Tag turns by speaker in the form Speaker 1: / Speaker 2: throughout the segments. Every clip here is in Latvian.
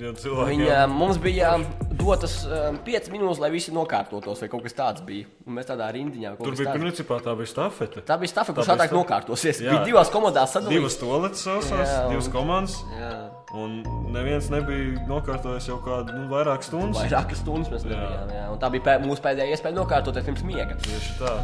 Speaker 1: Jau cilvēkiem.
Speaker 2: Viņa, eh, mums bija dotas 5 minūtes, lai visi nokārtotos, vai kaut kas tāds bija. Un mēs tādā rindiņā kaut
Speaker 1: Tur
Speaker 2: kas
Speaker 1: bija
Speaker 2: tāds-
Speaker 1: principā tā bija stafete.
Speaker 2: Tā bija stafa, kurš
Speaker 1: Tā bija
Speaker 2: ātrāk nokārtosies.
Speaker 1: Jā.
Speaker 2: Bija divās komandās
Speaker 1: Divas
Speaker 2: sadalīts.
Speaker 1: toaletes sausās,
Speaker 2: Jā, un-
Speaker 1: divas komandas.
Speaker 2: Jā.
Speaker 1: Un neviens nebija nokārtojis jau kādu nu, vairāk stundu.
Speaker 2: Vairākas stundas mēs bijām. Jā. Un Tā bija pē mūsu pēdējā iespēja nokārtoties pirms miega.
Speaker 1: Tieši tā.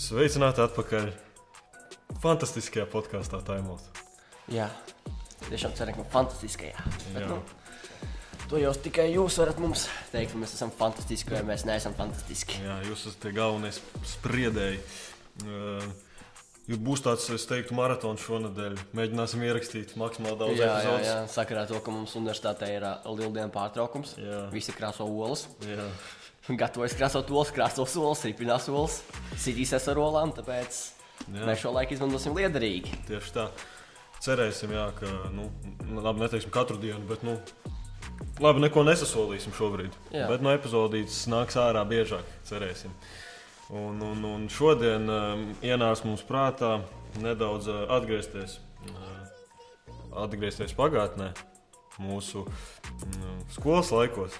Speaker 1: Sveicināti atpakaļ fantastiskajā podkāstā, Taimot.
Speaker 2: Jā, tiešām ceram, ka fantastiskajā. Bet,
Speaker 1: Jā.
Speaker 2: nu, to jau tikai jūs varat mums teikt, ka mēs esam fantastiski vai mēs neesam fantastiski.
Speaker 1: Jā, jūs esat tie galvenie sp- spriedēji. Jūs būs tāds, es teiktu, maratons šonadēļ. Mēģināsim ierakstīt maksimāli daudz
Speaker 2: Jā, jā, jā.
Speaker 1: epizodes.
Speaker 2: sakarā to, ka mums universitātē ir ā, liela diena pārtraukums.
Speaker 1: Jā.
Speaker 2: Visi krāso olas,
Speaker 1: Jā, jā.
Speaker 2: gatavojas krāsot olas, krāsos olas, ripinās olas, sitīs ar olām. Tāpēc
Speaker 1: Jā.
Speaker 2: jā. mēs šo laiku izmantosim liederīgi.
Speaker 1: Tieši tā. Cerēsim, jā, ka, nu, labi, neteiksim katru dienu, bet, nu, labi, neko nesasolīsim šobrīd.
Speaker 2: Jā.
Speaker 1: Jā. Bet no epizodītes nāks ārā biežāk, cerēsim. Un, un, un šodien um, ienāca mums prātā nedaudz uh, atgriezties, uh, atgriezties pagātnē, mūsu mm, skolas laikos.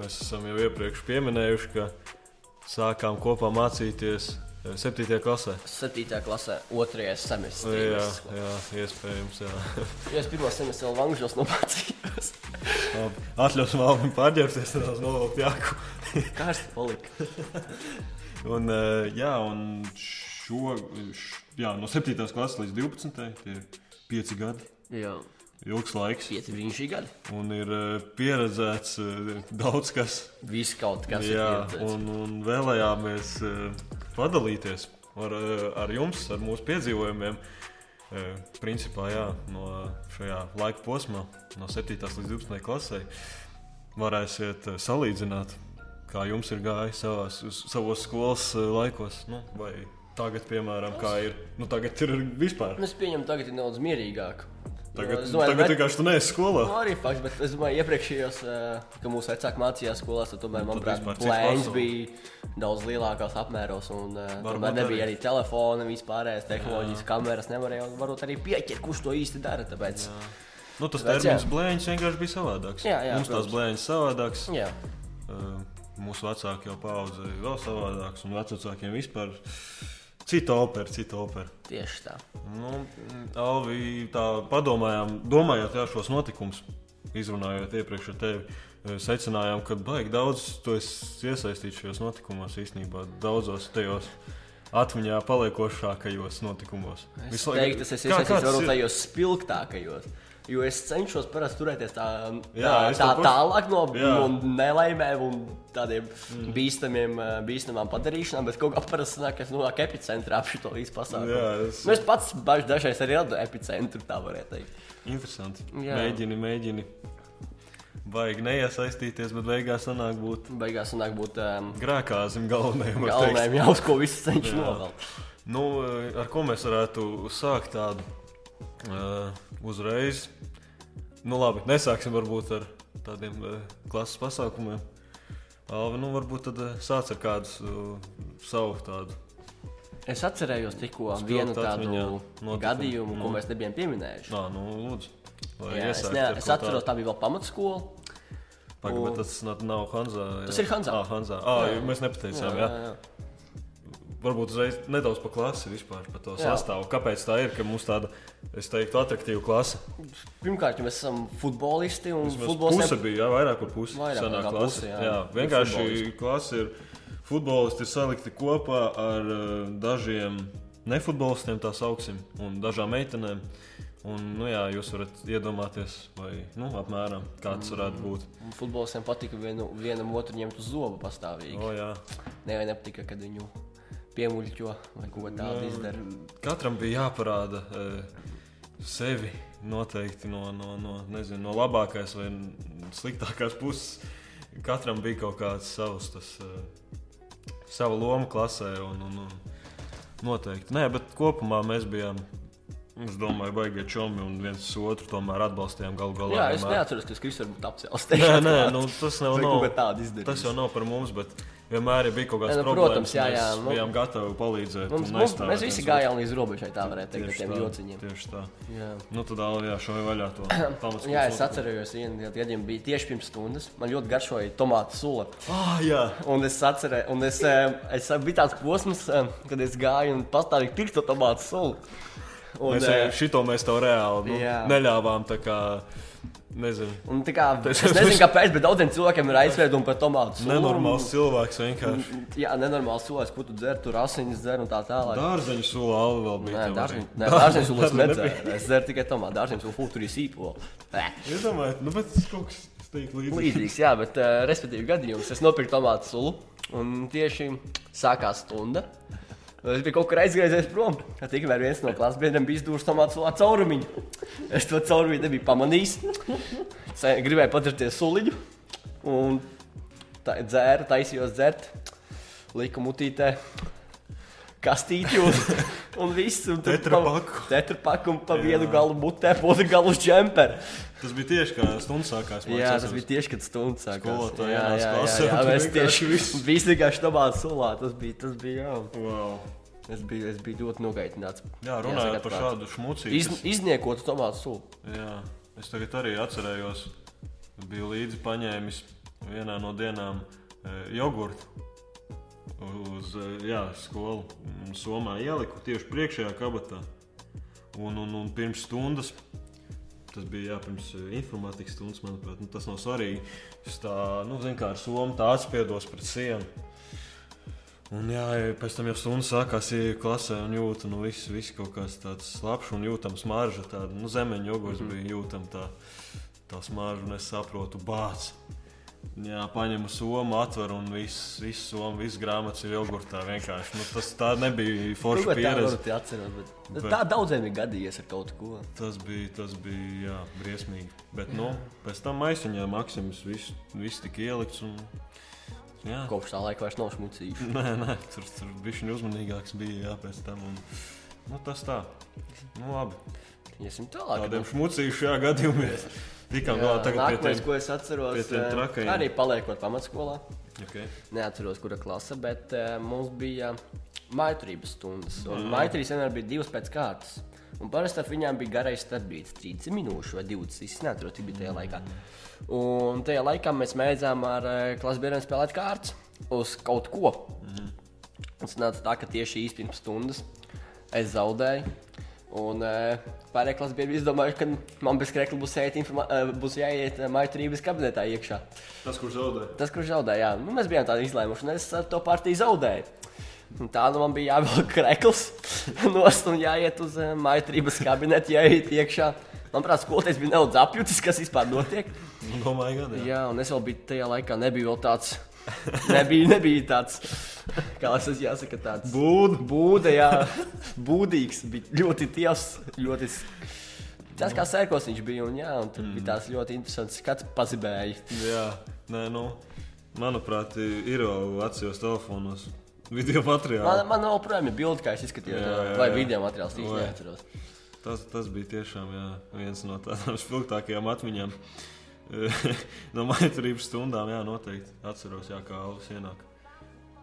Speaker 1: Mēs esam jau iepriekš pieminējuši, ka sākām kopā mācīties 7. klasē.
Speaker 2: 7. klasē, 2.
Speaker 1: Jā,
Speaker 2: semestris.
Speaker 1: jā, iespējams. Jā.
Speaker 2: Jā, es pirmā semestrī vēl Vāngžos nomācījos.
Speaker 1: Labi, Atļausim Alvim pārģērbties, tad es novilku jāku.
Speaker 2: Karsti palika.
Speaker 1: Un, eh, jā, un šo, š- jā, no 7. klases līdz 12. tie ir 5 gadi.
Speaker 2: Jā,
Speaker 1: Ilgs laiks.
Speaker 2: pieci brīnišķīgi gadi.
Speaker 1: Un ir eh, pieredzēts eh, daudz kas.
Speaker 2: Viss kaut kas
Speaker 1: jā,
Speaker 2: ir. pieredzēts.
Speaker 1: un, un vēlējāmies eh, padalīties ar, eh, ar jums, ar mūsu piedzīvojumiem. eh, Principā, jā, no šajā laika posmā, no 7. līdz 12. klasē, varēsiet eh, salīdzināt, kā jums ir gājis savās, uz- savos skolas eh, laikos. Nu, vai tagad, piemēram, kā ir, nu, tagad ir vispār.
Speaker 2: Es pieņemu, tagad ir nedaudz mierīgāk. Jo
Speaker 1: Tagad,
Speaker 2: es domāju,
Speaker 1: tagad
Speaker 2: bet-
Speaker 1: vienkārši tu neesi skolā.
Speaker 2: Nu, arī fakts, bet es domāju, iepriekšējos, eh, ka mūsu vecāki mācījās skolās, tad tomēr, manuprāt,
Speaker 1: Nu, vispār cits
Speaker 2: plēns
Speaker 1: pasaule.
Speaker 2: bija daudz lielākās apmēros. Un, eh,
Speaker 1: Varbūt
Speaker 2: tomēr nebija
Speaker 1: arī.
Speaker 2: arī telefona, vispārējās tehnoloģijas, kameras nevarēja un varbūt arī pieķert, kurš to īsti dara. Tāpēc,
Speaker 1: Nu, tas
Speaker 2: Bet,
Speaker 1: termins blēņas vienkārši bija savādāks.
Speaker 2: Jā, jā,
Speaker 1: Mums tās
Speaker 2: protams.
Speaker 1: blēņas savādākas.
Speaker 2: jā.
Speaker 1: Uh, mūsu vecākie jau paudze ir vēl savādāks, un vecākiem vispār cita opera, cita opera.
Speaker 2: Tieši tā.
Speaker 1: Nu, mm, Alvi, tā padomājām, domājot par šos notikumus, izrunājot iepriekš ar tevi. uh, Secinājām, ka baigi daudz tu esi iesaistīts šajos notikumos īstenībā, daudzos tajos atmiņā paliekošākajos notikumos.
Speaker 2: Es
Speaker 1: Visu laiku-
Speaker 2: teiktu, tas ir
Speaker 1: Kā-
Speaker 2: iesaistīts
Speaker 1: kāds
Speaker 2: varbūt
Speaker 1: ir?
Speaker 2: tajos spilgtākajos. Jo es cenšos parasti turēties tā, um, tā,
Speaker 1: Jā, es
Speaker 2: tā
Speaker 1: to pašu-
Speaker 2: tālāk no,
Speaker 1: Jā.
Speaker 2: no nelaimēm un tādiem mm. bīstamiem, ā, bīstamām padarīšanām, bet kaut kā parasti nāk, es nonāku epicentrā ap šo līdz pasākumu.
Speaker 1: Jā, es-
Speaker 2: Nu, es pats baž, dažreiz arī radu epicentru, tā varētu teikt.
Speaker 1: Interesanti.
Speaker 2: Jā.
Speaker 1: Mēģini, mēģini. Vajag neiesaistīties, bet beigās sanāk būt
Speaker 2: Beigās nāk būt um,
Speaker 1: grēkā zem galvenajam. var teikt.
Speaker 2: galvenajam jau uz ko visu cenšu
Speaker 1: Jā.
Speaker 2: novelt.
Speaker 1: Nu, ar ko mēs varētu sākt tādu uh, uzreiz? Nu, labi, nesāksim varbūt ar tādiem uh, klases pasākumiem. Alvi, nu, varbūt tad uh, sāc ar kādu uh, savu tādu.
Speaker 2: Es atcerējos tikko
Speaker 1: Spilgt
Speaker 2: vienu tādu
Speaker 1: atmiņā notikumu.
Speaker 2: gadījumu, ko
Speaker 1: Nu.
Speaker 2: mēs nebijām pieminējuši.
Speaker 1: Nā, nu, lūdzu. Vai
Speaker 2: Jā, es,
Speaker 1: iesākt
Speaker 2: ne,
Speaker 1: ar
Speaker 2: es
Speaker 1: ko
Speaker 2: atceros, tā bija vēl pamatskola.
Speaker 1: tādu? Paga, bet tas nav- nav Hanzā. jā.
Speaker 2: Tas ir Hanzā.
Speaker 1: Ā, Hanzā. Ā,
Speaker 2: Jā.
Speaker 1: mēs nepateicām, jā. jā.
Speaker 2: Uh,
Speaker 1: Varbūt uzreiz nedaudz par klasi vispār, par to
Speaker 2: Jā.
Speaker 1: sastāvu. Kāpēc tā ir, ka mums tāda, es teiktu, attraktīva klase?
Speaker 2: Pirmkārt, jo mēs esam futbolisti un
Speaker 1: Vismaz
Speaker 2: futbols
Speaker 1: Puse bija, jā, vairāk par pusi.
Speaker 2: Vairāk
Speaker 1: senā
Speaker 2: nekā
Speaker 1: klase.
Speaker 2: puse, jā.
Speaker 1: jā,
Speaker 2: Ir
Speaker 1: vienkārši
Speaker 2: futbolisti.
Speaker 1: klase ir futbolisti ir salikti kopā ar eh, dažiem nefutbolistiem, tā sauksim, un dažām meitenēm. Un, nu jā, jūs varat iedomāties, vai nu, apmēram kāds varētu būt.
Speaker 2: ne, futbolistiem patika vienu, vienam otru ņemt uz zobu pastāvīgi.
Speaker 1: O, jā.
Speaker 2: Nē, nepatika, kad viņu piemuļķo vai ko tādu izdara.
Speaker 1: Katram bija jāparāda eh, sevi noteikti no, no, no, nezinu, no labākās vai sliktākās puses. Katram bija kaut kāds savs, tas, eh, sava loma klasē. Un, un, un noteikti. Nē, bet kopumā mēs bijām. Es domāju, baigti čomi un viens otru tomēr atbalstījām galu galā.
Speaker 2: Jā, es
Speaker 1: vienmēr.
Speaker 2: neatceros, ka Kristus varbūt apcēlās.
Speaker 1: Nē, nē, nu, tas jau
Speaker 2: Vai
Speaker 1: nav.
Speaker 2: kaut kā tādu izdarījis.
Speaker 1: Tas jau nav par mums, bet vienmēr ja bija kaut kādas
Speaker 2: Jā, nu,
Speaker 1: problēmas.
Speaker 2: protams, jā, jā,
Speaker 1: Mēs
Speaker 2: nu-
Speaker 1: bijām gatavi palīdzēt.
Speaker 2: Mums,
Speaker 1: un
Speaker 2: mums,
Speaker 1: aizstāvēt
Speaker 2: mēs visi
Speaker 1: nu viens
Speaker 2: gājām līdz robežai, tā varētu
Speaker 1: otru.
Speaker 2: teikt, ar
Speaker 1: Tieši
Speaker 2: tiem
Speaker 1: tā,
Speaker 2: jociņiem.
Speaker 1: Tieši tā.
Speaker 2: Jā.
Speaker 1: Nu, tad vēl jā, šo vaļā to pamatu.
Speaker 2: Jā, es atceros, viena gadījuma bija tieši pirms stundas. Man ļoti garšoja tomātu sula.
Speaker 1: Ah, jā,
Speaker 2: Un es atceros, un es, eh, es biju tāds posms, eh, kad es gāju un pastāvīgi pirktu tomātu sulu. Un,
Speaker 1: mēs,
Speaker 2: eh,
Speaker 1: eh, šito mēs tev reāli nu,
Speaker 2: jā.
Speaker 1: neļāvām. tā kā, Nezinu.
Speaker 2: Un tā kā,
Speaker 1: Tas
Speaker 2: es
Speaker 1: ir-
Speaker 2: nezinu, kāpēc, bet daudziem cilvēkiem ir aizspriedumi par tomātu sulu.
Speaker 1: Nenormāls cilvēks vienkārši.
Speaker 2: Un- Jā, nenormāls solis, ko tu dzer, tur asinis dzer un tā tālāk.
Speaker 1: Dārzeņu sula alve vēl bija.
Speaker 2: Nē,
Speaker 1: tev arī.
Speaker 2: dažiem cilvēkiem
Speaker 1: Dārzeņu
Speaker 2: nedzēra. Es dzeru tikai tomātu, dažiem cilvēkiem tur ir sīpols.
Speaker 1: Iedomājieties, nu, bet tas kaut kas tāds līdzīgs.
Speaker 2: Līdzīgs, jā, bet uh, respektīvi gadījums. Es nopirku tomātu sulu un tieši sākās stunda. Es biju kaut kur aizgājis prom. kad Tikmēr viens no klases biedriem bija izdūris tomātu sulu caurumiņu. Es to caurumiņu nebiju pamanījis. Ce- Gribēju padarīties suliņu. Un tā dzēru, taisījos dzert, liku mutītē. Kastīti un, un viss. Un tur
Speaker 1: Tetra
Speaker 2: pa-
Speaker 1: paku.
Speaker 2: Tetra paku un pa
Speaker 1: Jā.
Speaker 2: vienu galu mutē, pa otru galu džemperi.
Speaker 1: Tas bija tieši kā stundas sākās. man
Speaker 2: Jā,
Speaker 1: liekas,
Speaker 2: tas
Speaker 1: atceros.
Speaker 2: bija tieši kad stundas sākās.
Speaker 1: Skolotāji
Speaker 2: jā,
Speaker 1: ienāca
Speaker 2: jā,
Speaker 1: klasē,
Speaker 2: jā, jā,
Speaker 1: un tu
Speaker 2: mēs
Speaker 1: vienkārši
Speaker 2: tieši
Speaker 1: visu-
Speaker 2: visi vienkārši tomā sulā. Tas bija, tas bija, jā.
Speaker 1: Wow.
Speaker 2: Es biju, es biju ļoti nogaitināts.
Speaker 1: Jā, runājot
Speaker 2: Jāsaka
Speaker 1: par
Speaker 2: atklāti.
Speaker 1: šādu šmucīgu.
Speaker 2: Iz, izniekot tomātu sulu.
Speaker 1: Jā, es tagad arī atcerējos, biju līdzi paņēmis vienā no dienām e, jogurtu. Uz e, jā, skolu Un Somā ieliku tieši priekšējā kabatā. Un, un, un pirms stundas, tas bija jā, pirms e, informātikas stundas, manuprāt, nu, tas nav svarīgi. Es tā, nu, zinu, kā ar Somu tā atspiedos pret sienu. Un, jā, e, pēc tam jau stundu sākās, ieju klasē un jūtu, nu, viss, viss kaut kāds tāds slapjš un jūtams marža. Tāda nu, zemeņa jogurts mm -hmm. bija jūtama tā, tā smarža, un es saprotu, bācis. Jā, paņemu somu, atveru un viss, viss somu, viss grāmatas ir jogurtā vienkārši. Nu, tas tā nebija
Speaker 2: Nu,
Speaker 1: forša
Speaker 2: bet tā
Speaker 1: pieredze.
Speaker 2: nevaru te atceros, bet-
Speaker 1: Bet-
Speaker 2: Tā daudziem ir gadījies ar kaut ko.
Speaker 1: Tas bija, tas bija jā, briesmīgi. Bet nu, pēc tam maisiņā Maksims viss, viss tika ielikts. Un, jā,
Speaker 2: Kopš tā laika vairs nav šmucījuši.
Speaker 1: nē, nē, tur tur bija viņa uzmanīgāks. Bija, jā, pēc tam, un, nu, tas tā. Nu, labi,
Speaker 2: Iesim tālāk.
Speaker 1: tādiem šmucījušiem gadījumiem tikām galā
Speaker 2: nu. Jā,
Speaker 1: tagad pie
Speaker 2: Nākamais,
Speaker 1: tiem.
Speaker 2: ko es atceros,
Speaker 1: pie tiem
Speaker 2: eh,
Speaker 1: trakajiem.
Speaker 2: arī paliekot pamatskolā.
Speaker 1: Okay.
Speaker 2: neatceros, kura klase, bet uh, mums bija maitrības stundas. Mm. Maitrības vienmēr bija divas pēc kārtas. Un parasti ar viņiem bija garais starpbrīdis, 30 minūšu vai 20. Es neatceros, cik bija tajā laikā. Un tajā laikā mēs mēģinājām ar uh, klases biedriem spēlēt kārtas uz kaut ko. Mm. Un sanāca tā, ka tieši īsi pirms stundas es zaudēju. Un uh, pārējie klases biedri izdomāja, ka man bez krekla būs jāiet, informa- eh, būs jāiet uh, maitrības kabinetā iekšā.
Speaker 1: Tas, kurš zaudēja?
Speaker 2: Tas, kurš zaudēja, jā, nu, mēs bijām tādi izlēmuši, un es ar to partiju zaudēju. Un tā nu man bija jāvelk krēkls, nost un jāiet uz eh, maitrības kabinetu, jāiet iekšā. Manuprāt, skolotājs bija nedaudz apjutis, kas vispār notiek.
Speaker 1: Nu, Domāju, gan jā.
Speaker 2: Jā, un es vēl biju tajā laikā, nebija vēl tāds, nebija, nebija tāds, kā lai es jāsaka, tāds
Speaker 1: Būdu.
Speaker 2: būda, jā, būdīgs, bija ļoti tievs, ļoti. s- Tas kā sērkos viņš bija, un jā, un tur mm. bija tāds ļoti interesants skats pazibēji.
Speaker 1: Jā, nē, nu, manuprāt, ir jau atsevišķi telefonos video materiāli.
Speaker 2: Man, man nav problēma, ja bildi, kā es izskatījos,
Speaker 1: Jā, jā,
Speaker 2: vai
Speaker 1: jā.
Speaker 2: video materiāls
Speaker 1: Vai.
Speaker 2: īstenībā neatceros.
Speaker 1: Tas, tas bija tiešām jā, viens no tādām spilgtākajām atmiņām. no maitrības stundām, jā, noteikti. Atceros, jā, kā Alus ienāk.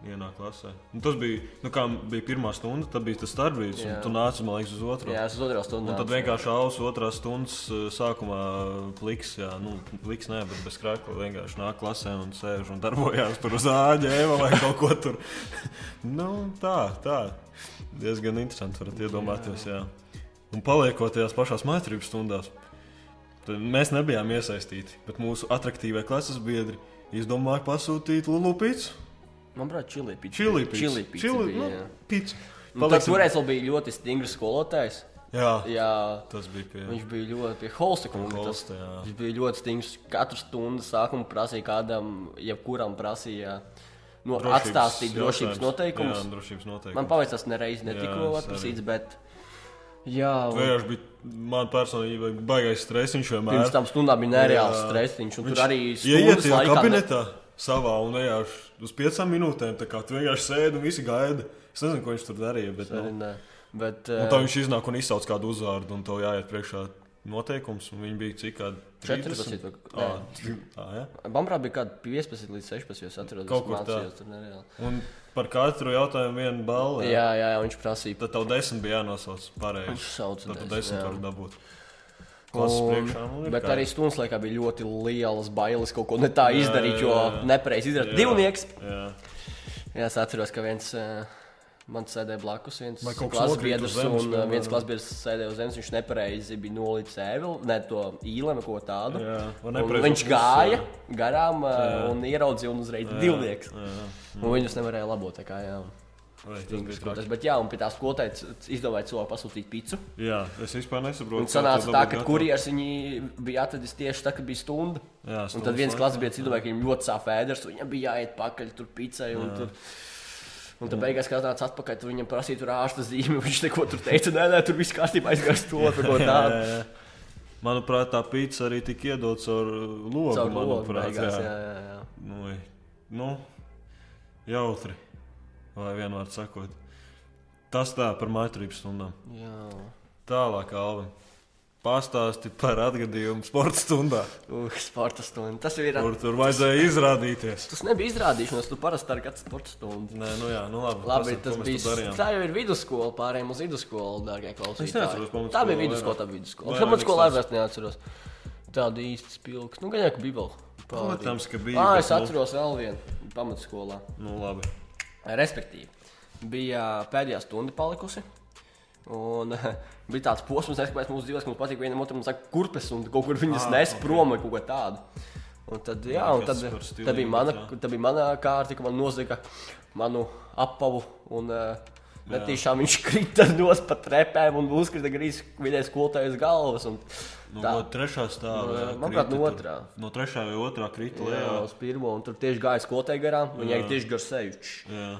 Speaker 1: Ienāk klasē. Nu, tas bija, nu, kā bija pirmā stunda, tad bija tas starpbrīdis, un
Speaker 2: Jā.
Speaker 1: tu nāc, man liekas, uz otru.
Speaker 2: Jā, es uz otrā stundā.
Speaker 1: Un Nu, tad vienkārši alus otrā stundas eh, sākumā pliks, jā, nu, pliks nē, bet bez krākla vienkārši nāk klasē un sēž un darbojās par uz āģēma vai kaut ko tur. nu, tā, tā. Diezgan interesanti varat iedomāties, jā. Un paliekot tajās pašās mācības stundās, tad mēs nebijām iesaistīti, bet mūsu atraktīvie klases biedri izdomāja pasūtīt lulupīts,
Speaker 2: Man liekas, čili pīcis.
Speaker 1: čilipīts.
Speaker 2: Čili
Speaker 1: nu,
Speaker 2: pīcis.
Speaker 1: pīts.
Speaker 2: Tas toreiz vēl bija ļoti stingrs skolotājs.
Speaker 1: Jā,
Speaker 2: Jā,
Speaker 1: tas bija pie.
Speaker 2: viņš bija ļoti pie Holsta kunga. tas-
Speaker 1: Holsta, jā.
Speaker 2: Viņš bija ļoti stingrs. Katru stundu sākumu prasīja kādam, jebkuram prasīja no, atstāstīt drošības
Speaker 1: jautājums.
Speaker 2: noteikumus.
Speaker 1: Jā, drošības noteikumus.
Speaker 2: Man paveicās nereiz, ne
Speaker 1: Jā,
Speaker 2: tikko
Speaker 1: es arī.
Speaker 2: atprasīts, bet. Jā, un-
Speaker 1: Vienkārši bija man personīgi bija baisais stress. Viņš vienmēr
Speaker 2: pirms tam stundām bija nereāls
Speaker 1: Jā.
Speaker 2: stress. Viņš un
Speaker 1: Viņš
Speaker 2: tur arī
Speaker 1: ieiet
Speaker 2: stundas
Speaker 1: tajā
Speaker 2: laikā ne-
Speaker 1: kabinetā savā un vienkārši uz piecām minūtēm. Tā kā tu vienkārši sēdi un visi gaida. Es nezinu, ko viņš tur darīja. Bet,
Speaker 2: Arī
Speaker 1: nu,
Speaker 2: nē. Bet, eh,
Speaker 1: un tā viņš iznāk un izsauc kādu uzvārdu un tev jāiet priekšā noteikums, un viņi bija cik tādi
Speaker 2: 14 vai kaut kā
Speaker 1: tā, ja?
Speaker 2: Bambrā bija kaut kāda 15 līdz 16, jo es atceros,
Speaker 1: Kaut
Speaker 2: ka
Speaker 1: kur tā.
Speaker 2: mācījos tur nereāli.
Speaker 1: Un par katru jautājumu vienu balvu.
Speaker 2: Jā, jā, jā, viņš prasīja.
Speaker 1: Tad tev desmit bija jānosauc pareizi.
Speaker 2: Viņš sauca
Speaker 1: Tad tu
Speaker 2: desmit,
Speaker 1: desmit
Speaker 2: jā.
Speaker 1: vari dabūt. Klases priekšā, nu, ir
Speaker 2: bet
Speaker 1: kā.
Speaker 2: arī stundas laikā bija ļoti lielas bailes kaut ko ne tā
Speaker 1: Jā,
Speaker 2: izdarīt,
Speaker 1: jā,
Speaker 2: jo
Speaker 1: jā.
Speaker 2: nepareizi izdarīt.
Speaker 1: Jā.
Speaker 2: Divnieks.
Speaker 1: Jā.
Speaker 2: Jā, es atceros, ka viens eh, man sēdēja blakus, viens
Speaker 1: Vai kaut kas
Speaker 2: klases
Speaker 1: nokrita uz
Speaker 2: biedrs,
Speaker 1: zemes,
Speaker 2: un eh,
Speaker 1: piemēram?
Speaker 2: viens klases biedrs sēdēja uz zemes. Viņš nepareizi bija nolicis ēvelu, ne to īlēmu, ko tādu.
Speaker 1: Jā, vai
Speaker 2: Un
Speaker 1: nepareizo
Speaker 2: Viņš
Speaker 1: pusi,
Speaker 2: gāja
Speaker 1: jā.
Speaker 2: garām eh, un ieraudzīja un uzreiz divnieks.
Speaker 1: Jā, jā.
Speaker 2: Un viņus nevarēja labot. tā Kā, jā.
Speaker 1: Vai, tas bija
Speaker 2: Stingrs
Speaker 1: traki.
Speaker 2: skrotas. Bet, jā, un pie tās skolotājas izdomāja cilvēku pasūtīt pīci.
Speaker 1: Jā, es vispār nesaprotu.
Speaker 2: Un
Speaker 1: kā
Speaker 2: sanāca
Speaker 1: to
Speaker 2: tā,
Speaker 1: dabūt
Speaker 2: ka
Speaker 1: gatavu.
Speaker 2: kurjeris viņu bija atradis tieši tad, kad bija stunda.
Speaker 1: Jā,
Speaker 2: Un tad
Speaker 1: stundas
Speaker 2: viens klases
Speaker 1: laikā.
Speaker 2: biedrs izdomāja, ka viņam ļoti sāp ēders, un viņam bija jāiet pakaļ tur pīcai. Un, tur... un tad beigās, kad nāca atpakaļ, tur viņam prasīja tur ārsta zīmi. Viņš neko tur teica, nē, nē, tur viss kārtībā aizgāja uz to vai kaut ko
Speaker 1: Jā,
Speaker 2: tādu.
Speaker 1: jā, jā. Manuprāt, tā pīcis arī tika iedodas ar logu.
Speaker 2: Caur logu
Speaker 1: manuprāt,
Speaker 2: beigās,
Speaker 1: jā.
Speaker 2: jā, jā, jā.
Speaker 1: Nu, i- nu, jautri. Vai vienmēr sakot, tas tā par mācību stundām.
Speaker 2: jā.
Speaker 1: Tālāk, Alvin, pastāsti par atgadījumu sporta stundā,
Speaker 2: Uh, sporta stunda. Tas ir.
Speaker 1: kur tur vajadzēja izrādīties.
Speaker 2: Tas nebija izrādīšanās, tu parasti ar kāds sporta stundu.
Speaker 1: Nē, nu jā, nu labi.
Speaker 2: Labi,
Speaker 1: pasaka, ko
Speaker 2: tas
Speaker 1: mēs tur
Speaker 2: bija.
Speaker 1: darījām.
Speaker 2: Tā jau ir vidusskola, pārējām uz vidusskolu, dārgie klausītāji.
Speaker 1: Es neatceros, pamatskola
Speaker 2: tā bija
Speaker 1: vairāk.
Speaker 2: vidusskola, tā bija vidusskola.
Speaker 1: Vairāk
Speaker 2: Kāpēc skolā
Speaker 1: nekas.
Speaker 2: vairs neatceros? Tāda īsta spilgta. Nu, gan jau ka bija vēl. pāri.
Speaker 1: Protams, ka bija,
Speaker 2: Ā,
Speaker 1: bet
Speaker 2: es
Speaker 1: nu-
Speaker 2: atceros vēl vienu pamatskolā.
Speaker 1: Nu, labi.
Speaker 2: Respektīvi, bija pēdējā stunda palikusi. Un bija tāds posms, kas manā dzīvē mums patīk, vienam otram saka, kurpes un kaut kur viņas
Speaker 1: Ah,
Speaker 2: nes
Speaker 1: ok.
Speaker 2: prom vai kaut ko tādu. Un tad, jā, un
Speaker 1: kas
Speaker 2: tad,
Speaker 1: par stilīgu,
Speaker 2: tad, bija mana,
Speaker 1: jā.
Speaker 2: tad bija mana kārta, ka man nozaga manu apavu. Un, eh, Netīšām viņš krita no strepēm un uzkrita grīzes vidē skolotājas galvas. Un,
Speaker 1: Nu,
Speaker 2: tā,
Speaker 1: no trešā stāvā. jā,
Speaker 2: manuprāt,
Speaker 1: krita
Speaker 2: no
Speaker 1: tur.
Speaker 2: otrā.
Speaker 1: No trešā vai otrā krita
Speaker 2: jā,
Speaker 1: lejā.
Speaker 2: uz pirmo, un tur tieši gāja skolotāja garām. Viņai
Speaker 1: Jā.
Speaker 2: tieši garsējuši.
Speaker 1: Jā.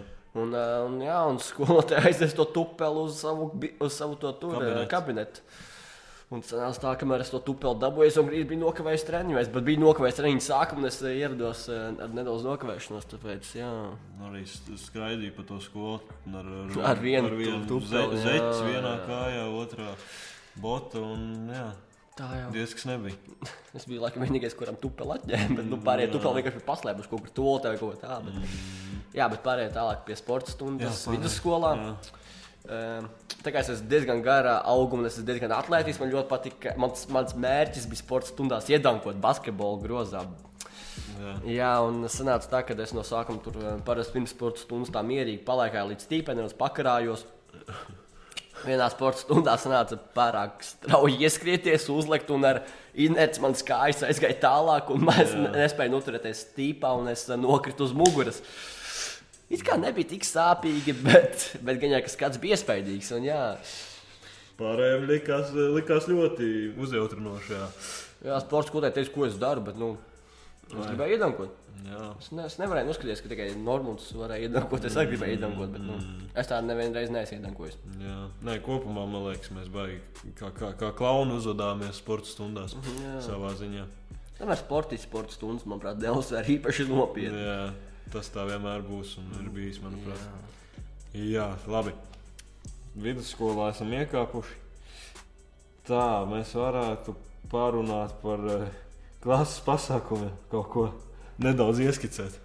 Speaker 2: Un, ā, un, jā, un skolotāja aiznes to tupeli uz savu, bi- uz savu to tur,
Speaker 1: Kabinetu.
Speaker 2: kabinetu. kabinetu. Un tas nāca tā, kamēr es to tupeli dabūju, es jau grīz biju nokavējis treniņos, bet biju nokavējis treniņu sākumu un es ā, ierados ā, ar nedaudz nokavēšanos. Tāpēc, jā.
Speaker 1: Nu, Arī s- skraidīja pa to skolu ar,
Speaker 2: Ar vienu tu-
Speaker 1: tupeli.
Speaker 2: tupeli,
Speaker 1: Ze, zeķis
Speaker 2: jā,
Speaker 1: vienā
Speaker 2: jā.
Speaker 1: kājā, otrā bota un jā,
Speaker 2: Tā jau.
Speaker 1: diezgan nebija.
Speaker 2: Es biju laikam vienīgais, kuram tupeli atņēma, bet nu, pārējie tupeli vienkārši bija paslēpuši kaut kur tolotē vai kaut ko tādu. bet- Jā, bet pārējie tālāk pie sporta stundas
Speaker 1: Mm. Jā, pārējie,
Speaker 2: vidusskolā.
Speaker 1: jā.
Speaker 2: Ehm, Tā kā es esmu diezgan gara auguma, un es esmu diezgan atlētisks. Man ļoti patīk, ka mans, mans mērķis bija sporta stundās iedankot basketbolu grozā.
Speaker 1: Jā.
Speaker 2: Jā, un sanāca tā, ka es no sākuma tur eh, parasti pirms sporta stundas tā mierīgi palaikāju līdz stīpenim, pakarājos. Vienā sporta stundā sanāca pārāk strauji ieskrieties, uzlikt, un ar inerci manas kājas aizgāja tālāk, un es ne- nespēju noturēties stīpā, un es eh, nokritu uz muguras. It kā nebija tik sāpīgi, bet, bet gan jau kas skats bija iespaidīgs. Un, jā,
Speaker 1: Pārējiem likās, likās ļoti uzjautrinoši. Jā.
Speaker 2: jā sports kodē teica, ko es daru, bet nu, es gribēju iedankot.
Speaker 1: Jā.
Speaker 2: Es, ne, es nevarēju noskatīties, ka tikai Normons varēja iedankot. Es arī gribēju iedankot, bet nu,
Speaker 1: Mm.
Speaker 2: es tādu nevienu reizi neesmu iedankojis.
Speaker 1: Jā. Nē, kopumā man liekas, mēs baigi kā, kā, kā klauni uzvedāmies sporta stundās
Speaker 2: Mhm. Jā.
Speaker 1: savā ziņā.
Speaker 2: Tomēr sports, sports stundas, manuprāt, neuzsver īpaši nopietni.
Speaker 1: Jā, tas tā vienmēr būs un ir bijis, manuprāt. Jā, labi. Vidusskolā esam iekāpuši. Tā mēs varētu pārunāt par eh, klases pasākumiem, kaut ko nedaudz ieskicēt.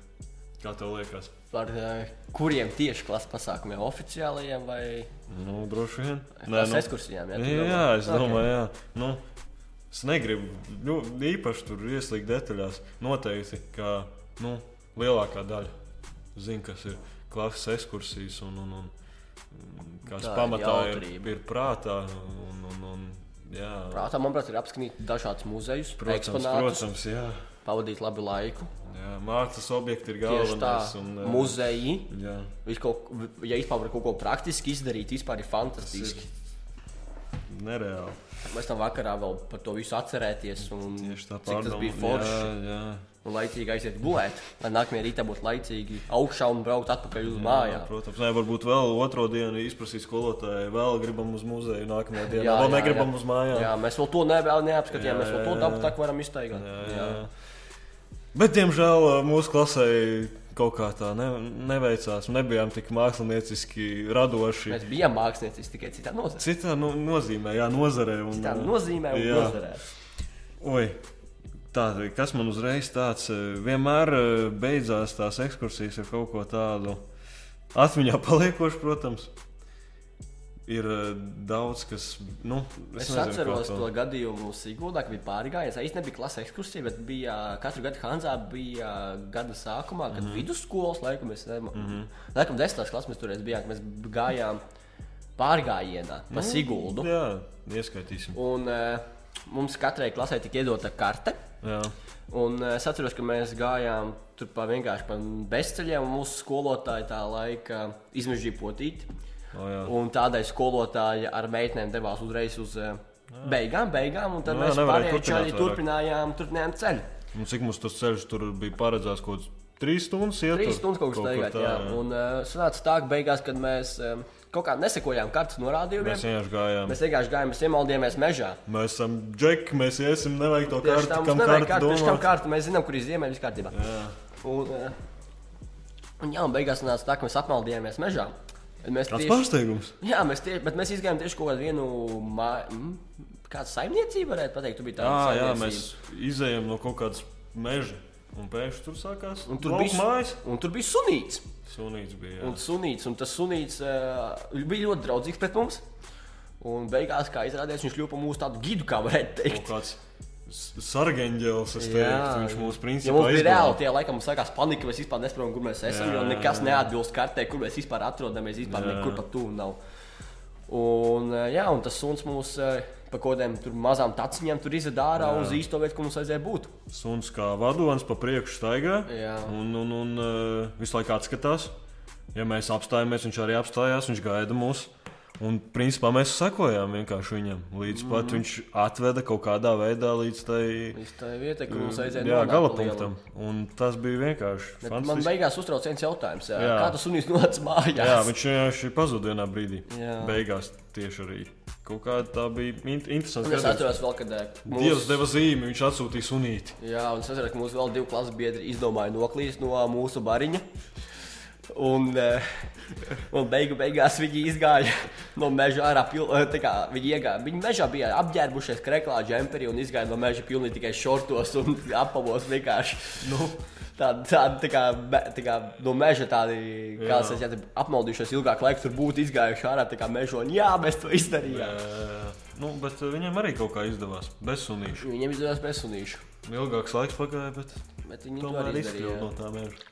Speaker 1: Kā tev liekas?
Speaker 2: Par eh, kuriem tieši klases pasākumiem, oficiālajiem vai
Speaker 1: Nu, droši vien.
Speaker 2: klases
Speaker 1: nu,
Speaker 2: ekskursijām? tu domā?
Speaker 1: jā, es
Speaker 2: Ok.
Speaker 1: domāju, jā. Nu, es negribu nu, īpaši tur ieslīgt detaļās. Noteikti, ka nu, lielākā daļa zina, kas ir klases ekskursijas un, un, un kas
Speaker 2: Tā ir
Speaker 1: pamatā ir,
Speaker 2: jautrība.
Speaker 1: ir prātā. Un, un, un, jā,
Speaker 2: Prātā, manuprāt, ir apskatīt dažādus muzejus,
Speaker 1: protams,
Speaker 2: eksponātus,
Speaker 1: protams jā,
Speaker 2: pavadīt labu laiku.
Speaker 1: jā. Mākslas objekti ir
Speaker 2: Tieši tā,
Speaker 1: galvenais. Un, eh,
Speaker 2: muzeji.
Speaker 1: jā,
Speaker 2: Viņš kaut ko, ja vispār var kaut ko praktiski izdarīt, vispār
Speaker 1: tas
Speaker 2: ir
Speaker 1: ir
Speaker 2: fantastiski.
Speaker 1: nereāli.
Speaker 2: Mēs tam vakarā vēl par to visu atcerēties. un
Speaker 1: Tieši tā
Speaker 2: cik tas
Speaker 1: pārdomā-
Speaker 2: bija forši.
Speaker 1: Jā, jā.
Speaker 2: un laicīgi aiziet gulēt, lai nākamajā rītā būtu laicīgi augšā un braukt atpakaļ uz
Speaker 1: Jā,
Speaker 2: mājām.
Speaker 1: protams, ne, varbūt vēl otro dienu izprasīs skolotāju, vēl gribam uz muzeju, nākamajā dienā
Speaker 2: Jā,
Speaker 1: vēl
Speaker 2: jā,
Speaker 1: negribam
Speaker 2: jā.
Speaker 1: uz mājām.
Speaker 2: Jā, mēs vēl to ne, vēl neapskatījām.
Speaker 1: Jā,
Speaker 2: Mēs vēl to
Speaker 1: jā,
Speaker 2: dabu
Speaker 1: jā.
Speaker 2: tā kā varam iztaigāt.
Speaker 1: Jā, jā. Bet, diemžēl, mūsu klasē kaut kā tā ne, neveicās. Nebijām tik mākslinieciski radoši.
Speaker 2: Mēs bijām mākslinieci tikai citā nozarē.
Speaker 1: Citā nu, nozīmē, jā, nozarē. Un,
Speaker 2: Citā nozīmē un
Speaker 1: Mm. jā.
Speaker 2: nozarē.
Speaker 1: Oi, tā, kas man uzreiz tāds eh, vienmēr eh, beidzās tās ekskursijas ar kaut ko tādu atmiņā paliekošu, protams. Ir eh, daudz, kas. Nu,
Speaker 2: Es, es
Speaker 1: nezinu,
Speaker 2: atceros
Speaker 1: kā
Speaker 2: to gadījumu Sigūdā, ka bija pārgājis. Es nebiju klases ekskursija, bet bija uh, katru gadu Hanzā bija uh, gada sākumā, kad mm
Speaker 1: Mhm.
Speaker 2: -hmm. vidusskolas laikam mēs nezinām, mm -hmm. laikam desmitās klases mēs tur bijām, mēs gājām pārgājienā pa
Speaker 1: Nu,
Speaker 2: Sigūdu.
Speaker 1: Jā, ieskaitīsim.
Speaker 2: Un eh, mums katrai klasē tika iedota karte.
Speaker 1: Jā.
Speaker 2: Un eh, es atceros, ka mēs gājām tur pa vienkārši pa bezceļiem, un mūsu skolotāja tā laika uh, izmežģīja potīti.
Speaker 1: O, jā.
Speaker 2: Un tādai skolotāja ar meitenēm devās uzreiz uz eh, beigām, beigām, un tad
Speaker 1: Jā,
Speaker 2: mēs
Speaker 1: Nu, nevarēja
Speaker 2: pārējie
Speaker 1: turpināt
Speaker 2: čaļi
Speaker 1: vairāk.
Speaker 2: turpinājām, turpinājām ceļu.
Speaker 1: Un cik mums tas ceļš tur bija paredzēts kaut kāds trīs stundas iet?
Speaker 2: Trīs
Speaker 1: tur?
Speaker 2: stundas kaut kas
Speaker 1: kur
Speaker 2: beigās,
Speaker 1: tā,
Speaker 2: jā. Un uh, sanāca tā, ka beigās, kad mēs um, kaut kā nesekojām kartas
Speaker 1: Mēs
Speaker 2: norādījumiem,
Speaker 1: vienkārši gājām.
Speaker 2: mēs vienkārši gājām, mēs iemaldījāmies mežā.
Speaker 1: Mēs esam džeki, mēs iesim, nevajag to
Speaker 2: Tieši tā
Speaker 1: kārtu,
Speaker 2: mums
Speaker 1: kam kārtu
Speaker 2: nevajag kārtu, tieši tam
Speaker 1: domāt.
Speaker 2: kārtu, mēs zinām, kur ir ziemeļi, viss kārtībā.
Speaker 1: Jā.
Speaker 2: Un, eh, un jā, un beigās nāca tā, ka mēs apmaldījāmies mežā. Bet Mēs
Speaker 1: Kāds
Speaker 2: tieši,
Speaker 1: pārsteigums?
Speaker 2: jā, mēs tieši, bet mēs izgājām tieši kaut kādu vienu māju. Kāda saimniecība varētu pateikt, tur bija tāda
Speaker 1: Jā, jā,
Speaker 2: saimniecība.
Speaker 1: mēs izējām no kaut kādas meža. Un pēkšņi tur sākās.
Speaker 2: Un tur
Speaker 1: lauku
Speaker 2: bija
Speaker 1: mājas.
Speaker 2: Un tur bija sunīts.
Speaker 1: Sunīts bija.
Speaker 2: Un, sunīts, un tas sunīts uh, bija ļoti draudzīgs pret mums. Un beigās, kā izrādījās, viņš kļuva par mūsu tādu gidu, kā varētu
Speaker 1: Jā,
Speaker 2: teikt.
Speaker 1: kaut kāds s- sargeņģēlis, es teiktu.
Speaker 2: Jā.
Speaker 1: Viņš mūs
Speaker 2: Ja
Speaker 1: principā
Speaker 2: mums bija
Speaker 1: izglāba.
Speaker 2: reāli tie laikam mums sākās panika, mēs vispār nesaprotam, kur mēs esam,
Speaker 1: Jā,
Speaker 2: jā, jo
Speaker 1: jā,
Speaker 2: nekas
Speaker 1: jā.
Speaker 2: neatbilst kartē, kur mēs vispār atrodamies,
Speaker 1: Jā.
Speaker 2: vispār jā. nekur pat tuvu nav. Un, eh, jā, un tas suns mūs eh, pa kaut kādiem tur mazām taciņām tur izved ārā uz īsto vietu, kur mums vajadzēja būt.
Speaker 1: Suns kā vadonis pa priekšu staigā.
Speaker 2: Jā.
Speaker 1: Un, un, un eh, visu laiku atskatās. Ja mēs apstājamies, viņš arī apstājās, viņš gaida mūs. Un principā mēs sekojām vienkārši viņam. Līdz pat
Speaker 2: Mhm.
Speaker 1: viņš atveda kaut kādā veidā līdz tai
Speaker 2: Uz tā vieta, kur mums vajadzēja
Speaker 1: jā,
Speaker 2: nonākt pa
Speaker 1: gala
Speaker 2: lielu.
Speaker 1: punktam. Un tas bija vienkārši
Speaker 2: Bet man
Speaker 1: fantastiski.
Speaker 2: beigās uztrauc viens jautājums, jā.
Speaker 1: Jā.
Speaker 2: kā tas sunis nonāca mājās?
Speaker 1: Jā, viņš vienkārši pazuda vienā brīdī.
Speaker 2: Jā.
Speaker 1: Beigās tieši arī. Kaut kā tā bija int interesanta
Speaker 2: Un es atceros, vēl, kad eh, mūs-
Speaker 1: Dievs deva zīmi, viņš atsūtīja sunīti.
Speaker 2: Jā, un es saprotu, ka mūsu vēl divi klases biedri izdomāja noklīst no mūsu bariņa. Un, eh, un beigu beigās viņi izgāja no meža ārā. pil- eh, tā kā Viņi, iegāja, viņi mežā bija apģērbušies krēklā, džemperi un izgāja no meža pilnīgi tikai šortos un apavos vienkārši. Nu. Tāda tā, tā kā, me- tā kā no meža tādi,
Speaker 1: Jā.
Speaker 2: kā es teicu, apmaldījušies ilgāk laika, tur būtu izgājuši ārā tā kā mežā. Jā, mēs to izdarījām.
Speaker 1: Ē, Nu, bet eh, viņam arī kaut kā izdevās. Bez sunīša.
Speaker 2: Viņiem izdevās bezsunīšu.
Speaker 1: Ilgāks laiks pagāja, bet
Speaker 2: Bet viņi to
Speaker 1: tomēr
Speaker 2: arī
Speaker 1: izkļuva no
Speaker 2: izdarīja.
Speaker 1: tā mēža.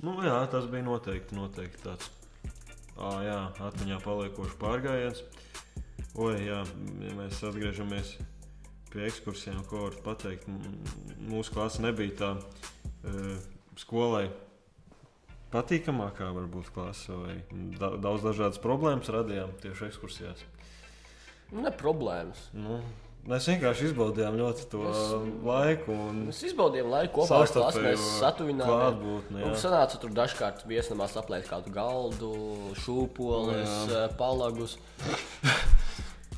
Speaker 1: Nu, jā, tas bija noteikti, noteikti tāds. Ā, jā, atmiņā paliekošs pārgājiens. Oi, jā, ja mēs atgriežamies pie ekskursijām, ko var pateikt. M- Mūsu klase nebija tā e, skolai patīkamākā, varbūt klase, vai da daudz dažādas problēmas radījām tieši ekskursijās.
Speaker 2: Nu, Ne problēmas.
Speaker 1: Nu, mēs vienkārši izbaudījām ļoti to laiku un
Speaker 2: Mēs izbaudījām laiku kopā ar klasi, mēs
Speaker 1: Savstarpējo
Speaker 2: satuvinājām.
Speaker 1: klātbūtni, jā.
Speaker 2: Mums sanāca tur dažkārt viesnamās aplēt kādu galdu, šūpoles,
Speaker 1: Jā.
Speaker 2: eh, palagus.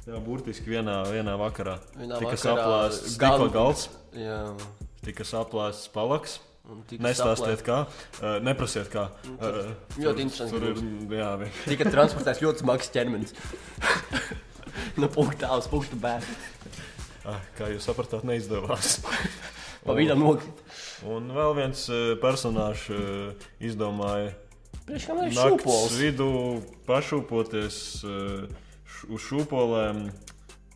Speaker 1: Jā, burtiski vienā, vienā vakarā.
Speaker 2: Vienā
Speaker 1: tika
Speaker 2: vakarā
Speaker 1: saplāsts
Speaker 2: gan-
Speaker 1: stikla galds,
Speaker 2: Jā,
Speaker 1: tika saplāsts palaks.
Speaker 2: un tika
Speaker 1: Nestāstiet,
Speaker 2: saplēst.
Speaker 1: kā. Uh, neprasiet, kā. Uh,
Speaker 2: Ļoti interesants
Speaker 1: Tur ir jā, vi-
Speaker 2: Tika transportēts ļoti smags ķermenis. no punktā uz punktu bērnu.
Speaker 1: Ah, kā jūs sapratāt, neizdevās.
Speaker 2: Pa vidu nokrīt.
Speaker 1: Un vēl viens uh, personāžs uh, izdomāja
Speaker 2: Priekš kam ir
Speaker 1: naktas
Speaker 2: šūpoles?
Speaker 1: vidū pašūpoties uh, š- uz šūpolēm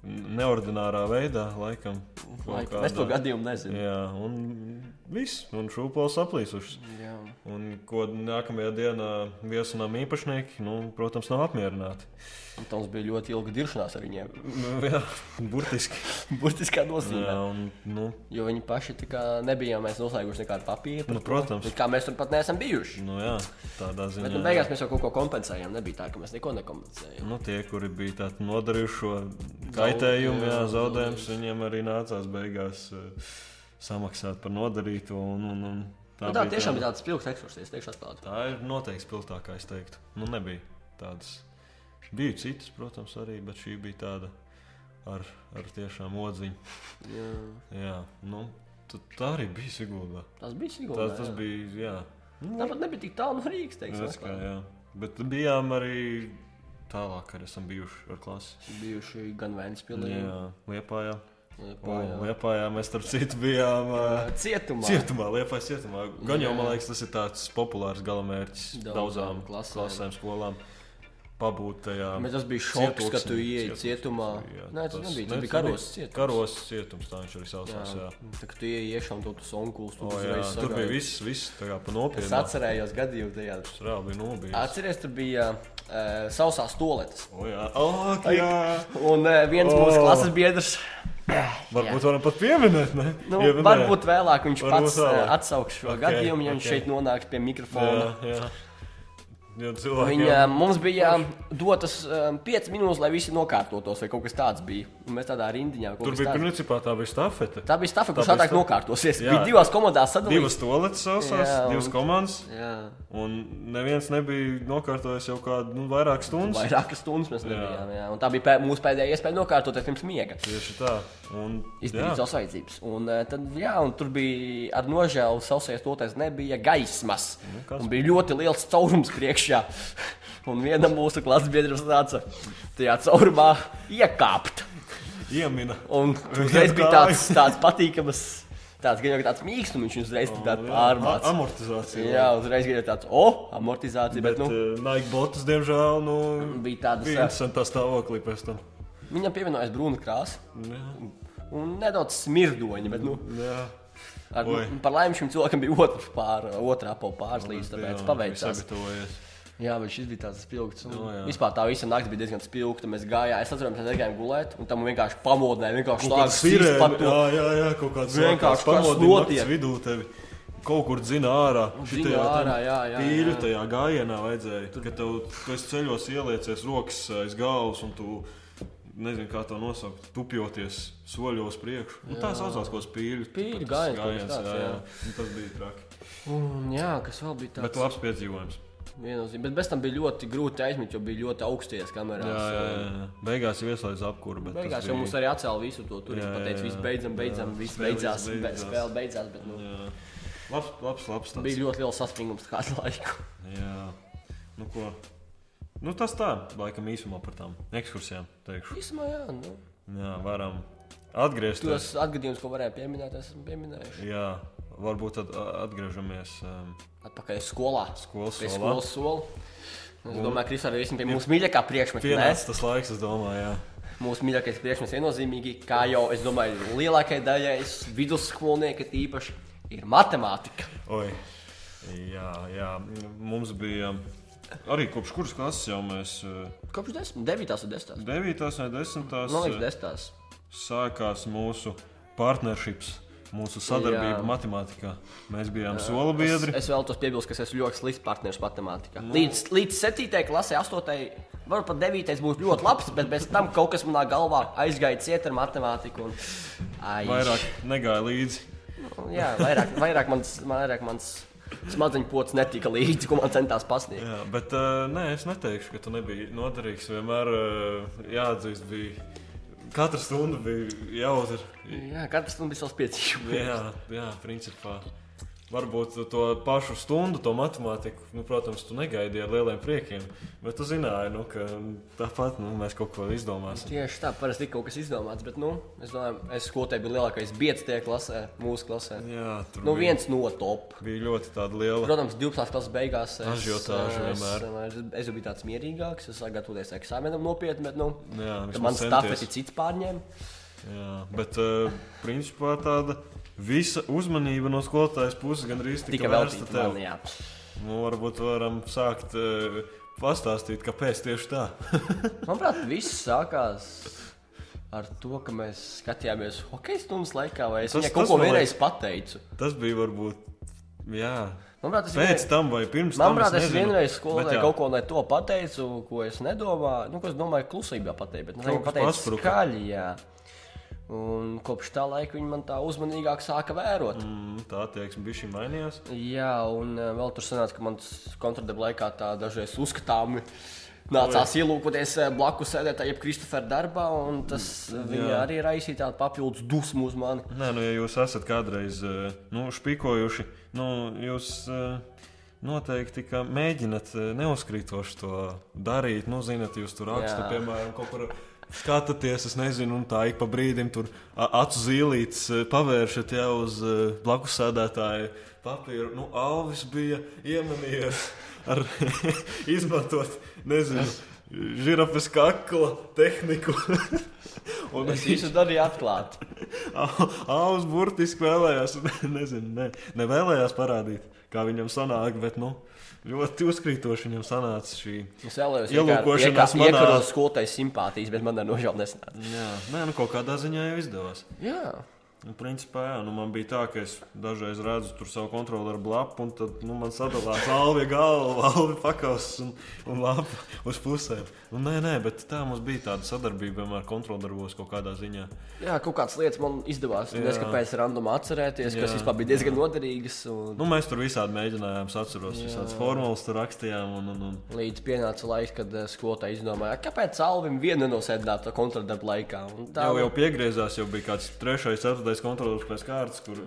Speaker 1: neordinārā veidā, laikam.
Speaker 2: Laik,
Speaker 1: Kaut
Speaker 2: Mēs to
Speaker 1: kādā-
Speaker 2: gadījumu nezinām.
Speaker 1: Jā, un viss, un šūpoles aplīsušas.
Speaker 2: Jā.
Speaker 1: Un ko nākamajā dienā viesunām īpašnieki, nu, protams, nav apmierināti.
Speaker 2: Un tā Mums bija ļoti ilga diršanās ar viņiem.
Speaker 1: Nu, jā, burtiski.
Speaker 2: Burtiskā
Speaker 1: Jā,
Speaker 2: nozīmē.
Speaker 1: un, nu,
Speaker 2: Jo viņi paši tā kā nebijām mēs noslēguši nekādu papīru.
Speaker 1: nu, protams,
Speaker 2: Bet kā mēs tur pat neesam bijuši.
Speaker 1: nu, jā, tādā ziņā.
Speaker 2: Bet nu, beigās mēs jau kaut ko kompensējām. Nebija tā, ka mēs neko nekompensējām.
Speaker 1: Nu, tie, kuri bija tādi nodarījuši šo kaitējumu, jā,
Speaker 2: jā,
Speaker 1: zaudējumus, viņiem arī nācās beigās eh, samaksāt par nodarīto. Un, un, un
Speaker 2: Tā, nu, tā
Speaker 1: bija
Speaker 2: tiešām bija tāds spilgts ekskursijas, teikšu atklāti.
Speaker 1: Tā ir noteikti spilgtākā, es teiktu. Nu, nebija tādas. Bija citas, protams, arī, bet šī bija tāda ar, ar tiešām odziņu.
Speaker 2: Jā.
Speaker 1: Jā, nu, tu- tā arī bija Sigūda.
Speaker 2: Tas bija
Speaker 1: Tā,
Speaker 2: Sigūda. Nu,
Speaker 1: tas bija, jā.
Speaker 2: Tāpat nebija tik tālu no Rīgas, teiksim.
Speaker 1: Redz,
Speaker 2: atklāti.
Speaker 1: kā, jā. Bet bijām arī tālāk, kad esam bijuši ar klasi.
Speaker 2: bijuši gan Vēnspilī,
Speaker 1: Jā, Liepā. Jā.
Speaker 2: gan
Speaker 1: Liepā jā, mēs starp citu bijām ā,
Speaker 2: cietumā.
Speaker 1: cietumā, Liepājas cietumā. Gan jau,
Speaker 2: Jā.
Speaker 1: man liekas, tas ir tāds populārs galamērķis
Speaker 2: Daudzām
Speaker 1: daudzām
Speaker 2: klasēm.
Speaker 1: klasēm, skolām. Pabūt tajā.
Speaker 2: Bet tas bija šoks, kad tu
Speaker 1: cietoksnī,
Speaker 2: ieeji
Speaker 1: cietoksnī,
Speaker 2: cietumā.
Speaker 1: jā,
Speaker 2: Nē, tas nebija. Tas
Speaker 1: ne,
Speaker 2: bija karos cietums.
Speaker 1: Karos cietums, tā viņš arī saucās. Jā.
Speaker 2: Jā. Nu, Tā kā tu ieeji iešām, tad tu onkulis tur
Speaker 1: O, jā,
Speaker 2: uzreiz
Speaker 1: tur bija
Speaker 2: sagaidi.
Speaker 1: viss, viss tā kā pa
Speaker 2: Es
Speaker 1: nopietnu.
Speaker 2: atcerējos gadījumu tajā.
Speaker 1: Tas reāli bija nobijis.
Speaker 2: Atceries, tur bija uh, sausās toaletes.
Speaker 1: O, jā, Oh Ak, jā.
Speaker 2: Un uh, viens oh. mūsu
Speaker 1: O.
Speaker 2: klases biedrs,
Speaker 1: Varbūt varam pat pieminēt, ne?
Speaker 2: nu,
Speaker 1: Ja,
Speaker 2: jā,
Speaker 1: ne?
Speaker 2: varbūt vēlāk viņš
Speaker 1: Varbūt
Speaker 2: varbūt pats uh,
Speaker 1: vēlāk.
Speaker 2: atsauks šo
Speaker 1: Ok,
Speaker 2: okay, gadījumu, ja viņš
Speaker 1: ok.
Speaker 2: okay. šeit nonāks pie mikrofona.
Speaker 1: Jā, jā. Jo
Speaker 2: Jā.
Speaker 1: cilvēki
Speaker 2: Viņa,
Speaker 1: jau-
Speaker 2: mums bija um, dotas 5 minūtes, lai visi nokārtotos, vai kaut kas tāds bija. Un mēs tādā rindiņā kaut
Speaker 1: Tur
Speaker 2: kas
Speaker 1: bija
Speaker 2: tāds.
Speaker 1: principā tā bija stafete.
Speaker 2: Tā bija stafa, kurš
Speaker 1: Tā bija
Speaker 2: ātrāk
Speaker 1: stafa.
Speaker 2: nokārtosies.
Speaker 1: Jā.
Speaker 2: Jā. Bija divās komandās sadalīts.
Speaker 1: Divas toaletes sausās,
Speaker 2: Jā, un-
Speaker 1: divas komandas,
Speaker 2: Jā,
Speaker 1: un neviens nebija nokārtojis jau kādu nu, vairāk stundas.
Speaker 2: vairākas stundas mēs bijām. Tā bija pē, mūsu pēdējā iespēja nokārtoties pirms miega.
Speaker 1: Tieši tā. Un,
Speaker 2: Izdarīt savas vajadzības. Un, eh, tad, jā, un tur bija ar nožēlu sausais toties nebija gaismas.
Speaker 1: Nu, kas
Speaker 2: Un bija ļoti liels caurums priekšā. Un vienam mūsu klases biedram nāca tajā caurumā iekāpt.
Speaker 1: iemina.
Speaker 2: Un uzreiz bija tāds, tāds patīkams, tāds gan jau tāds mīksts, un viņš uzreiz tik tā
Speaker 1: A-
Speaker 2: pārmācīja.
Speaker 1: Amortizācija.
Speaker 2: Jā, uzreiz bija tāds, o, amortizācija. Bet,
Speaker 1: Bet,
Speaker 2: nu,
Speaker 1: eh, Nike botas, diemžēl, nu,
Speaker 2: bija tādas.
Speaker 1: bija
Speaker 2: eh,
Speaker 1: interesantā stāvoklī pēc tam.
Speaker 2: Viņam pievienojas brūna krāsa
Speaker 1: Jā,
Speaker 2: un nedaudz smirdoņa. Bet, nu,
Speaker 1: jā.
Speaker 2: ar,
Speaker 1: Oi.
Speaker 2: nu, par laimi šim cilvēkam bija otrs pār, otrā apaļa pārslīdes, tāpēc
Speaker 1: Nu, Jā,
Speaker 2: paveicās.
Speaker 1: Sagatavojies.
Speaker 2: Jā, bet šis bija tāds spilgts. Un,
Speaker 1: Jā, jā.
Speaker 2: vispār tā visa naktis bija diezgan spilgta. Mēs gājām, es atceros, mēs gājām gulēt, un tam vienkārši pamodināja. Vienkārši
Speaker 1: Kaut kāds
Speaker 2: tāds
Speaker 1: sirēni,
Speaker 2: izplatījums.
Speaker 1: jā, jā, jā, kaut kāds
Speaker 2: Vienkārši
Speaker 1: vienkārši
Speaker 2: kas notiek?
Speaker 1: pamodinājums vidū tevi. Kaut kur dzina ārā.
Speaker 2: Dzina
Speaker 1: Šitajā tam
Speaker 2: ārā, jā, jā,
Speaker 1: Pīļu
Speaker 2: jā.
Speaker 1: tajā gājienā vajadzēja. Tur, kad tev tu esi ceļos ieliecies rokas aiz galvas un tu, nezinu, kā to nosaukt, tupjoties soļos priekšu. Un tā saucās, ko spīļu.
Speaker 2: Pīļu
Speaker 1: tāpēc
Speaker 2: gājiens kaut kas
Speaker 1: gājiens,
Speaker 2: tāds,
Speaker 1: jā,
Speaker 2: jā.
Speaker 1: jā. Un tas bija traki.
Speaker 2: Un, jā, kas vēl bija
Speaker 1: Bet
Speaker 2: tāds
Speaker 1: labs piedzīvojums.
Speaker 2: viennozīmīgs. Bet bez tam bija ļoti grūti aizmirst, jo bija ļoti augsties kamerās.
Speaker 1: Jā, jā, jā. jā. Beigās jau ieslēdz apkuru, bet tas
Speaker 2: Beigās
Speaker 1: bija...
Speaker 2: jau mums arī atcēla visu to. Tur
Speaker 1: Jā,
Speaker 2: viņš
Speaker 1: jā,
Speaker 2: pateica,
Speaker 1: jā.
Speaker 2: viss beidzam, beidzam,
Speaker 1: Jā,
Speaker 2: viss
Speaker 1: spēle
Speaker 2: beidzās,
Speaker 1: viss
Speaker 2: be-
Speaker 1: beidzās.
Speaker 2: spēle beidzās. Bet, nu,
Speaker 1: Jā. Labs, labs, labs. tāds.
Speaker 2: bija ļoti liels saspringums kādu laiku.
Speaker 1: Jā, nu ko. Nu, tas tā, laikam īsumā par tām ekskursijām teikšu.
Speaker 2: Īsumā, jā, nu,
Speaker 1: Jā, varam atgriezties.
Speaker 2: tos atgadījumus, ko varēja pieminēt, esmu pieminējuši.
Speaker 1: Jā, varbūt tad ā, atgriežamies. Um,
Speaker 2: Atpakaļ skolā.
Speaker 1: Skolas
Speaker 2: Pie
Speaker 1: solā.
Speaker 2: skolas sola. Es domāju, ka Kristāla arī esam pie mūsu mīļākā priekšmeta. Nē,
Speaker 1: Pienācis tas laiks, es domāju, jā.
Speaker 2: mūsu mīļākais priekšmets viennozīmīgi, kā jau es domāju, lielākajai daļai es- vidusskolnieki tīpaši ir matemātika.
Speaker 1: Oi. Jā, jā, mums bija arī kopš kuras klases jau mēs ā,
Speaker 2: Kopš 10, 9 un
Speaker 1: 9.
Speaker 2: 10.
Speaker 1: vai 10.
Speaker 2: Man liekas, 10.
Speaker 1: sākās mūsu partnerships, mūsu sadarbība
Speaker 2: Jā.
Speaker 1: matemātikā. Mēs bijām sola biedri.
Speaker 2: Es vēlos piebilst, ka es esmu ļoti slikts partneris matemātikā. Līdz, līdz 7. klasē, 8. varbūt pat 9. būs ļoti labs, bet bez tam kaut kas manā galvā aizgāja ciet ar matemātiku. Un... Ai,
Speaker 1: Vairāk negāja līdzi.
Speaker 2: Jā, vairāk, vairāk mans, vairāk mans smadzeņu pocis netika līdzi, ko man centās pasniegt.
Speaker 1: Jā, bet uh, nē, es neteikšu, ka tu nebija noderīgs. Vienmēr uh, jāatzīst, bija katra stunda bija jāuzvar.
Speaker 2: Jā, katrs tam bija savs piecīgs.
Speaker 1: Jā, jā, principā. Varbūt tu to pašu stundu, to matemātiku, nu, protams, tu negaidīji ar lieliem priekiem. Bet tu zināji, nu, ka tāpat nu, mēs kaut ko izdomāsim.
Speaker 2: Tieši tā, parasti tika kaut kas izdomāts, bet, nu, es domāju, es skotēju biju lielākais biedrs tajā klasē, mūsu klasē.
Speaker 1: Jā, tur
Speaker 2: Nu,
Speaker 1: bija,
Speaker 2: viens no top.
Speaker 1: bija ļoti tāda liela.
Speaker 2: Protams, 12. klases beigās es,
Speaker 1: Ažiotāža
Speaker 2: es,
Speaker 1: vienmēr.
Speaker 2: es, es biju tāds mierīgāks, es gatavoties eksāmenam nopietni, bet nu,
Speaker 1: Jā,
Speaker 2: tad
Speaker 1: vismaz
Speaker 2: man
Speaker 1: centies.
Speaker 2: stāfeti cits pārņēma.
Speaker 1: Jā, bet uh, principā tāda visa uzmanība no skolotājas puses gandrīz
Speaker 2: Tikai
Speaker 1: tika
Speaker 2: vēl
Speaker 1: vērsta
Speaker 2: tādā
Speaker 1: tev.
Speaker 2: veidā.
Speaker 1: Nu, varbūt varam sākt eh, pastāstīt, kāpēc tieši tā.
Speaker 2: Manuprāt, viss sākās ar to, ka mēs skatījāmies hokeja stundas laikā, vai es
Speaker 1: Tas-
Speaker 2: viņai kaut
Speaker 1: tas
Speaker 2: ko
Speaker 1: man
Speaker 2: vienreiz pateicu.
Speaker 1: Tas bija varbūt jā,
Speaker 2: Manuprāt, es
Speaker 1: pēc
Speaker 2: vienreiz-
Speaker 1: tam vai pirms tam.
Speaker 2: Manuprāt, es, es
Speaker 1: nezinu,
Speaker 2: vienreiz
Speaker 1: bet jā.
Speaker 2: skolēju kaut ko ne to pateicu, ko es nedomāju. Nu, ko es domāju, klusībā pateikt, bet
Speaker 1: Kaut
Speaker 2: viņš
Speaker 1: kas
Speaker 2: pateica
Speaker 1: paspruka.
Speaker 2: skaļi. Jā. Un kopš tā laika viņi man tā uzmanīgāk sāka vērot. Mm.
Speaker 1: Mm, tā attieksme bija šī mainījās.
Speaker 2: Jā, un eh, vēl tur sanāca, ka manas kontradaba laikā tā dažreiz uzskatāmi nācās ielūkoties eh, blakus sēdētāji, jeb Kristofera darbā, un tas viņa arī raisīja tādu papildus dusmu uz mani.
Speaker 1: Nē, nu, ja jūs esat kādreiz eh, nu, špikojuši, nu, jūs eh, Noteikti, ka mēģināt eh, neuzkrītoši to darīt. Nu, zinot, jūs tur rakstat,
Speaker 2: Jā.
Speaker 1: piemēram, kaut kur skatāties, es nezinu, un tā ik pa brīdim tur a- acu zīlītes eh, pavēršat jau uz eh, blakus sēdētāju papīru. Nu, Alvis bija iemanījies ar izmantot, nezinu, žirafes kakla tehniku. Un
Speaker 2: Es visu darīju atklāti.
Speaker 1: Alus burtiski vēlējās, nezinu, ne, nevēlējās parādīt, kā viņam sanāk, bet nu, ļoti uzkrītoši viņam sanāca šī.
Speaker 2: Es vēlējos
Speaker 1: Ielūkošanās manā-
Speaker 2: iekarot skolotāju simpātijas, bet man ar nožēlu nesnāca.
Speaker 1: Jā, nē, nu kaut kādā ziņā jau izdevās.
Speaker 2: Jā,
Speaker 1: Nu, principā, jā, nu, man bija tā, ka es dažreiz redzu tur savu kontroleru blaku, un tad nu, man sadalās alvi galva, alvi pakausis un, un lapa uz pusēm. Nu, nē, nē, bet tā mums bija tāda sadarbība, vienmēr kontroleros kaut kādā ziņā.
Speaker 2: jā, kaut kādas lietas man izdevās.
Speaker 1: Jā.
Speaker 2: Es kāpēc randomā atcerēties,
Speaker 1: Jā.
Speaker 2: kas vispār bija diezgan noderīgas. Un...
Speaker 1: Nu, mēs tur visādi mēģinājām, es atceros, visādas formulas tur rakstījām un, un, un
Speaker 2: Līdz pienāca laiks, kad eh, skolotāja izdomāja, kāpēc Alvim viena nosēdināta kontradarba laikā. Un
Speaker 1: Tā jau, jau piegriezās, jau bija kāds trešais, ceturtais kontrols pēc kārtas, kur,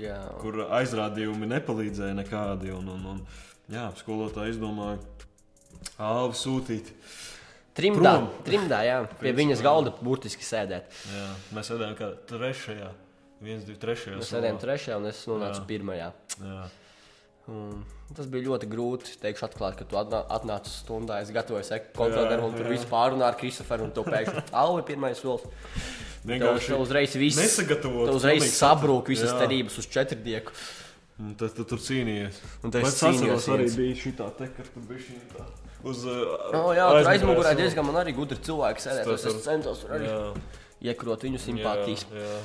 Speaker 2: jā.
Speaker 1: kur aizrādījumi nepalīdzēja nekādi. Un, un, un jā, skolotāji izdomāja, āāā sūtīt.
Speaker 2: Trimdā,
Speaker 1: Prom.
Speaker 2: trimdā, jā, pie viņas galda burtiski sēdēt.
Speaker 1: Jā, mēs sēdējām kā trešajā, viens, divi, trešajā.
Speaker 2: Mēs sēdējām
Speaker 1: solā.
Speaker 2: trešajā un es nonācu
Speaker 1: Jā.
Speaker 2: pirmajā.
Speaker 1: Jā.
Speaker 2: Un tas bija ļoti grūti. Teikšu, atklāti, ka tu atnā- atnāc uz stundā. Es gatavoju sekundāru, un tur
Speaker 1: jā.
Speaker 2: viss pārunā ar Kristoferu. Un tu pēkšņi Alvi pirmais solis. Tev,
Speaker 1: Vienkārši
Speaker 2: tev uzreiz viss
Speaker 1: nesagatavots,
Speaker 2: tev Uzreiz
Speaker 1: pilnīgi
Speaker 2: sabrūk visas
Speaker 1: Jā.
Speaker 2: cerības uz četrdieku.
Speaker 1: Un Tad tu tur cīnījies.
Speaker 2: Un tad es
Speaker 1: Bet atceros,
Speaker 2: cīnījos
Speaker 1: arī
Speaker 2: viens.
Speaker 1: bija šī tā te, ka tu biji šī tā. Uz uh,
Speaker 2: No, jā, tur aizmugurē diezgan man arī gudri cilvēki sēdēja.
Speaker 1: Tas
Speaker 2: Es, es
Speaker 1: tur-
Speaker 2: centos tur arī
Speaker 1: Jā,
Speaker 2: iekrot viņu simpātijas.
Speaker 1: Jā, jā.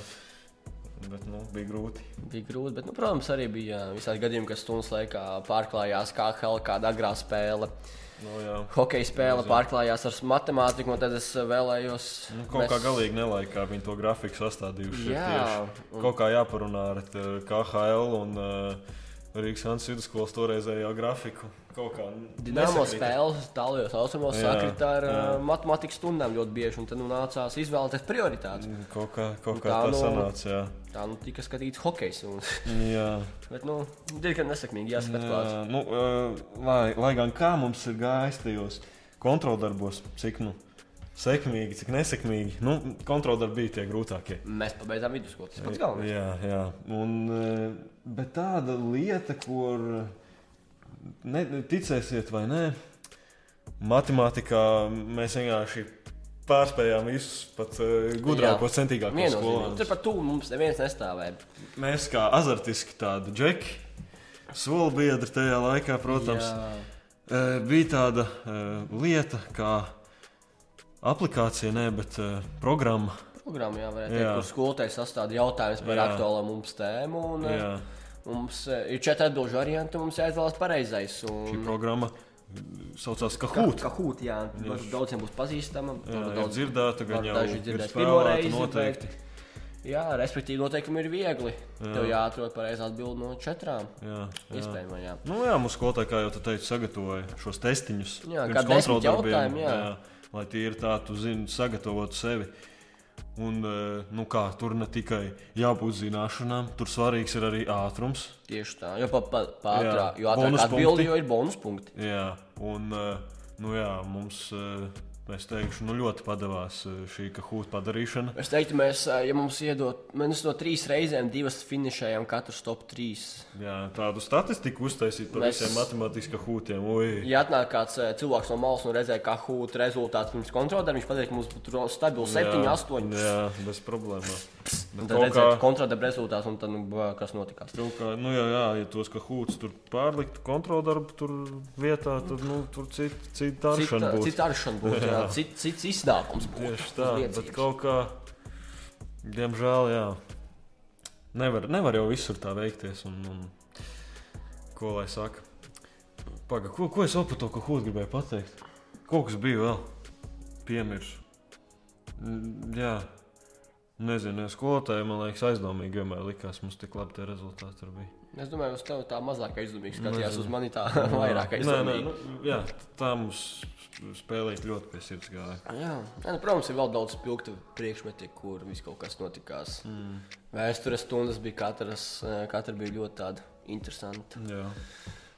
Speaker 1: Bet, nu, bija grūti.
Speaker 2: Bija grūti, bet, nu, protams, arī bija visādi gadījumi, kas stundas laikā pārklājās kā hell, kāda agrā spēle.
Speaker 1: No, Nu, jā.
Speaker 2: Hokeja spēle pārklājās ar matemātiku, un tad es eh, vēlējos.
Speaker 1: Nu, kaut mēs... kā galīgi nelaikā viņi to grafiku sastādījuši. ir
Speaker 2: Jā,
Speaker 1: tieši. Kaut kā jāparunā ar eh, t- KHL un uh, Rīgas Hansa vidusskolas toreizējo grafiku. Kaut kā
Speaker 2: Dīnāmo
Speaker 1: nesakrīt.
Speaker 2: spēles, tālākajos austrumos
Speaker 1: Jā,
Speaker 2: sakrita ar
Speaker 1: jā.
Speaker 2: ā, matemātikas stundām ļoti bieži, un tad nu, nācās izvēlēties prioritāti.
Speaker 1: Mm, Kaut kā, kaut
Speaker 2: Nu,
Speaker 1: kā
Speaker 2: tā
Speaker 1: tā, tā
Speaker 2: nu-
Speaker 1: sanāca. Jā.
Speaker 2: Tā nu tika skatīts hokejs, un,
Speaker 1: Jā.
Speaker 2: bet, nu, diezgan nesakmīgi jāskat klāt.
Speaker 1: Jā, nu, eh, lai, lai gan kā mums ir gājis tajos kontroldarbos, cik nu, sekmīgi, cik nesekmīgi. Nu, kontroldarbi bija tie grūtākie.
Speaker 2: Mēs pabeidzām vidusskolu, tas pats galvenais.
Speaker 1: Jā, jā. Un, eh, bet tāda lieta, kur eh, ne, ticēsiet vai nē, matemātikā mēs vienkārši pārspējām visus pat eh, gudrākos, centīgākos
Speaker 2: Viennozīmīgi. Nu, Tur
Speaker 1: skolēnus.
Speaker 2: pat tuvu mums neviens nestāvēja.
Speaker 1: Mēs kā azartiski tādi džeki, solibiedri tajā laikā, protams,
Speaker 2: Jā.
Speaker 1: Eh, bija tāda eh, lieta, kā aplikācija, ne, bet eh, programma.
Speaker 2: Programma, jā, varētu
Speaker 1: Jā.
Speaker 2: teikt, kur skolotājs sastāv jautājumus par
Speaker 1: Jā.
Speaker 2: aktuālo mums tēmu. Un, eh, ā,
Speaker 1: Jā.
Speaker 2: mums ā, ir četri atbildžu varianti, un mums jāizvēlas pareizais.
Speaker 1: Šī
Speaker 2: Un...
Speaker 1: programma saucās Kahūt.
Speaker 2: Kā hūt, jā, varbūt daudziem būs pazīstama.
Speaker 1: Jā,
Speaker 2: varbūt
Speaker 1: ir dzirdēta, gan
Speaker 2: var
Speaker 1: jau
Speaker 2: daži
Speaker 1: ir
Speaker 2: dzirdēt
Speaker 1: spēlēta
Speaker 2: pirmo reizi,
Speaker 1: noteikti.
Speaker 2: bet- Jā, respektīvi, noteikumi ir viegli. Jā. Tev jāatrod pareizi atbild no četrām
Speaker 1: Jā, jā.
Speaker 2: iespējamajām.
Speaker 1: Nu, jā, mums skolotāji, kā jau te teicu, sagatavoja šos testiņus.
Speaker 2: Jā,
Speaker 1: pirms
Speaker 2: kā desmit
Speaker 1: kontroldarbiem,
Speaker 2: jautājumu, jā.
Speaker 1: lai tie ir tādi, tu zini, sagatavotu sevi. Un, eh, nu kā, tur ne tikai jābūt zināšanām, tur svarīgs ir arī ātrums.
Speaker 2: Tieši tā, jo pa, pa, pa ātrā,
Speaker 1: Jā,
Speaker 2: jo ātrāk
Speaker 1: bonus punkti.
Speaker 2: atbildi, jo ir bonuspunkti.
Speaker 1: Jā, un eh, nu, jā, mums, eh, es teikšu, nu, ļoti padavās eh, šī kahūta padarīšana.
Speaker 2: Es teiktu, mēs, ā, ja mums iedod, mēs no trīs reizēm divas finišējām, katrs top trīs.
Speaker 1: Jā, tādu statistiku uztaisīt par
Speaker 2: Mēs-
Speaker 1: visiem matemātiskiem kahūtiem. Ui.
Speaker 2: Ja atnāk kāds ā, cilvēks no malas un redzē, kā hūta rezultāts pirms kontrolēm, viņš pateiks, ka mums tur ir stabils 7, 8.
Speaker 1: Jā, bez problēmām. Bet
Speaker 2: Un tad
Speaker 1: kaut kā,
Speaker 2: redzēs kontrolēm rezultāts, un tad, nu, bā, kas notikās.
Speaker 1: kaut kā, nu jā, jā, ja tos kahūts tur pārlikt kontroldarbu tur vietā, tad, nu, tur cita, cita
Speaker 2: Cita,
Speaker 1: aršana būtu.
Speaker 2: cita aršana būtu, jā, cits, cits iznākums būtu.
Speaker 1: Tieši tā, bet
Speaker 2: Uzliecīgs.
Speaker 1: kaut kā, diemžēl, jā. Nevar, nevar jau visur tā veikties. Un, un, ko lai saka? Paga, ko, ko es vēl par to kahūtu gribēju pateikt? Kaut kas bija vēl piemirs. Mm, Jā, nezinu, ja skolotājiem, man liekas, aizdomīgi vienmēr likās, mums tik labi tie rezultāti tur bija.
Speaker 2: Es domāju, uz tevi tā mazāk aizdomīgs skatījās,
Speaker 1: Nezinu.
Speaker 2: uz mani tā vairāk
Speaker 1: Nē, nē,
Speaker 2: aizdomīgs.
Speaker 1: nu, jā, tā mums spēlīt ļoti pie sirds gāja.
Speaker 2: Jā, Nē, nu, protams, ir vēl daudz spilgtu priekšmetu, kur viss kaut kas notikās. Mm. Vēstures stundas bija katras, eh, katra bija ļoti tāda interesanta.
Speaker 1: Jā.